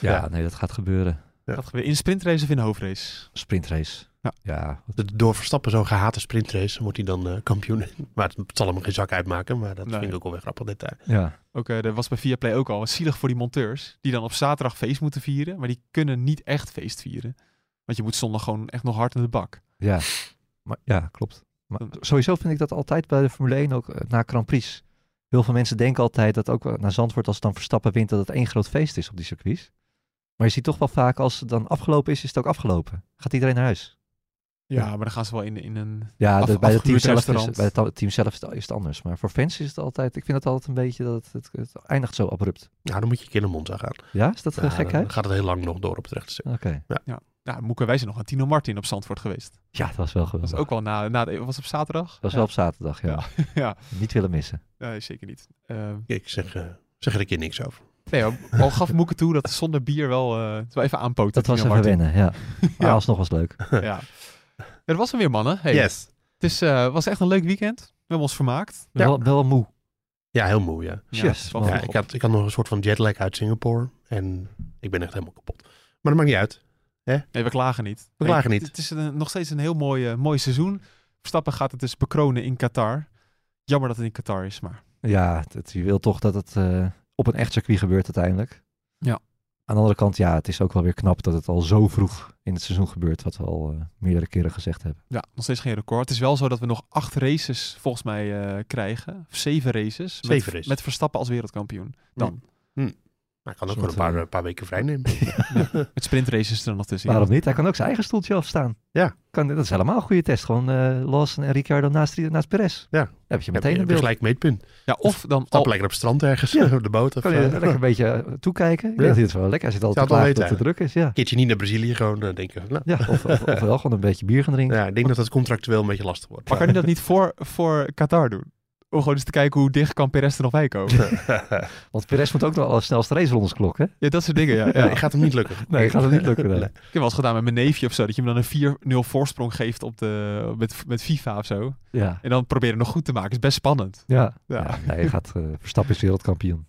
S3: Ja, nee, dat gaat gebeuren.
S2: Ja.
S1: Dat gebeurt in sprintrace of in hoofdrace.
S3: Sprintrace. Ja, wat-
S2: De- Door Verstappen zo'n gehate sprintrace wordt hij dan eh, kampioen. Maar het zal hem geen zak uitmaken, maar dat
S1: Nee.
S2: vind ik ook wel weer grappig detail.
S3: ja.
S1: Ook eh, dat was bij Viaplay ook al. Zielig voor die monteurs. Die dan op zaterdag feest moeten vieren. Maar die kunnen niet echt feest vieren. Want je moet zondag gewoon echt nog hard in de bak.
S3: ja. Maar, ja, klopt. Maar sowieso vind ik dat altijd bij de Formule 1 ook eh, na Grand Prix. Heel veel mensen denken altijd dat ook eh, naar Zandvoort als het dan Verstappen wint dat het één groot feest is op die circuits. Maar je ziet toch wel vaak als het dan afgelopen is, is het ook afgelopen. Gaat iedereen naar huis.
S1: Ja, maar dan gaan ze wel in, in een...
S3: Ja,
S1: Af-
S3: de- bij, het team
S1: afgehuurd
S3: zelf is,
S1: restaurant.
S3: bij het ta- team zelf is het, is het anders. Maar voor fans is het altijd, ik vind het altijd een beetje dat het, het, het eindigt zo abrupt.
S2: Nou, dan moet je een keer naar Monza gaan.
S3: Ja, is dat
S2: Ja,
S3: een gekheid?
S2: dan gaat het heel lang nog door op het rechte stuk.
S3: Oké.
S1: Nou, Moeken, wij zijn nog aan Tino Martin op Zandvoort geweest.
S3: Ja, dat was wel
S1: Dat
S3: geweldig.
S1: was ook wel na... na de, was het op zaterdag?
S3: Dat was wel op zaterdag, ja.
S1: Ja.
S3: Niet willen missen.
S1: Nee, zeker niet. Ehm,
S2: Ik zeg, eh, zeg er een keer niks over.
S1: nee, maar al gaf Moeken toe dat zonder bier wel... eh, het wel even aanpoten.
S3: Dat was
S1: Tino
S3: even
S1: Martin.
S3: wennen, ja. Maar
S1: Ja.
S3: alsnog was het leuk.
S1: Ja. Ja, dat was hem weer, mannen. Hey,
S2: Yes.
S1: Het is, eh, was echt een leuk weekend. We hebben ons vermaakt.
S2: Ja.
S3: Wel, wel moe.
S2: Ja, heel moe, ja.
S3: Yes,
S1: Ja, het is wel
S3: man.
S2: ja
S1: vroeg
S2: ik,
S1: op.
S2: had, ik had nog een soort van jetlag uit Singapore. En ik ben echt helemaal kapot. Maar dat maakt niet uit.
S1: Nee, we klagen niet.
S2: We
S1: Nee,
S2: klagen niet.
S1: Het, het is een- nog steeds een heel mooi, eh, mooi seizoen. Verstappen gaat het dus bekronen in Qatar. Jammer dat het in Qatar is, maar...
S3: Ja, het, het- je wil toch dat het eh, op een echt circuit gebeurt uiteindelijk.
S1: Ja.
S3: Aan de andere kant, ja, het is ook wel weer knap dat het al zo vroeg in het seizoen gebeurt, wat we al eh, meerdere keren gezegd hebben.
S1: Ja, nog steeds geen record. Het is wel zo dat we nog acht races volgens mij eh, krijgen. Of zeven races. met,
S2: Zeven races.
S1: Met Verstappen als wereldkampioen. Dan.
S2: Maar ik kan ook
S3: Soort,
S2: gewoon een paar,
S3: eh,
S2: een paar weken vrij nemen.
S1: Met sprintraces er nog tussen.
S3: Waarom niet? Hij kan ook zijn eigen stoeltje afstaan.
S2: Ja.
S3: Kan, dat is helemaal een goede test. Gewoon eh Lawson en Ricciardo naast, naast Perez.
S2: Ja.
S3: Dan heb je
S2: Heb
S3: meteen
S2: je-
S3: een
S2: heb je
S3: beeld. Oh.
S2: gelijk meetpunt.
S1: Ja, of dan
S2: Stap
S1: al,
S2: lekker op het strand ergens, op de boot. Of,
S3: Kan je
S2: eh,
S3: lekker een beetje eh, toekijken. Ik denk dat hij het wel lekker. Hij zit altijd
S2: Zou
S3: klaar
S2: het wel
S3: dat het te druk is. Ja.
S2: een keertje niet naar Brazilië gewoon eh, denken. van, Nou,
S3: Ja, of, of, of wel gewoon een beetje bier gaan drinken.
S2: ja, ik denk dat dat contractueel een beetje lastig wordt.
S1: Maar kan hij dat niet voor, voor Qatar doen? Om gewoon eens te kijken hoe dicht kan Perez er nog bij komen.
S3: Want Perez moet ook nog al snelste racerondes klokken.
S1: Ja, dat soort dingen, ja. ja.
S2: Nee, gaat hem niet lukken.
S3: Nee, gaat het niet lukken. nee.
S2: Nee.
S1: Ik heb wel eens gedaan met mijn neefje of zo. Dat je hem dan een 4-0 voorsprong geeft op de, met, met FIFA of zo.
S3: Ja.
S1: En dan proberen nog goed te maken. Is best spannend.
S3: Ja.
S1: Ja.
S3: ja. Nee, hij gaat eh, Verstappen is wereldkampioen.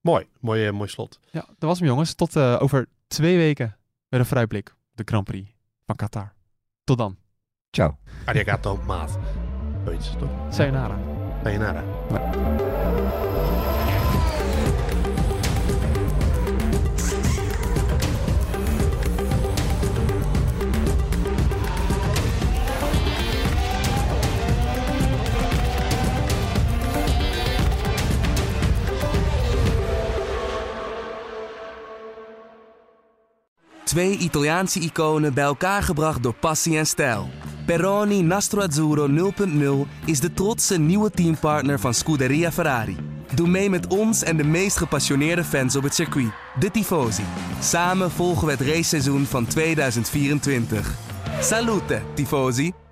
S2: Mooi, mooi, eh, mooi slot.
S1: Ja, dat was hem jongens. Tot eh, over twee weken met een vooruitblik. op De Grand Prix van Qatar. Tot dan.
S3: Ciao.
S2: Arigato, maat. Zoiets, toch?
S1: Sayonara.
S2: Sayonara.
S5: Twee Italiaanse iconen bij elkaar gebracht door passie en stijl. Peroni Nastro Azzurro 0.0 is de trotse nieuwe teampartner van Scuderia Ferrari. Doe mee met ons en de meest gepassioneerde fans op het circuit, de Tifosi. Samen volgen we het raceseizoen van 2024. Salute, Tifosi!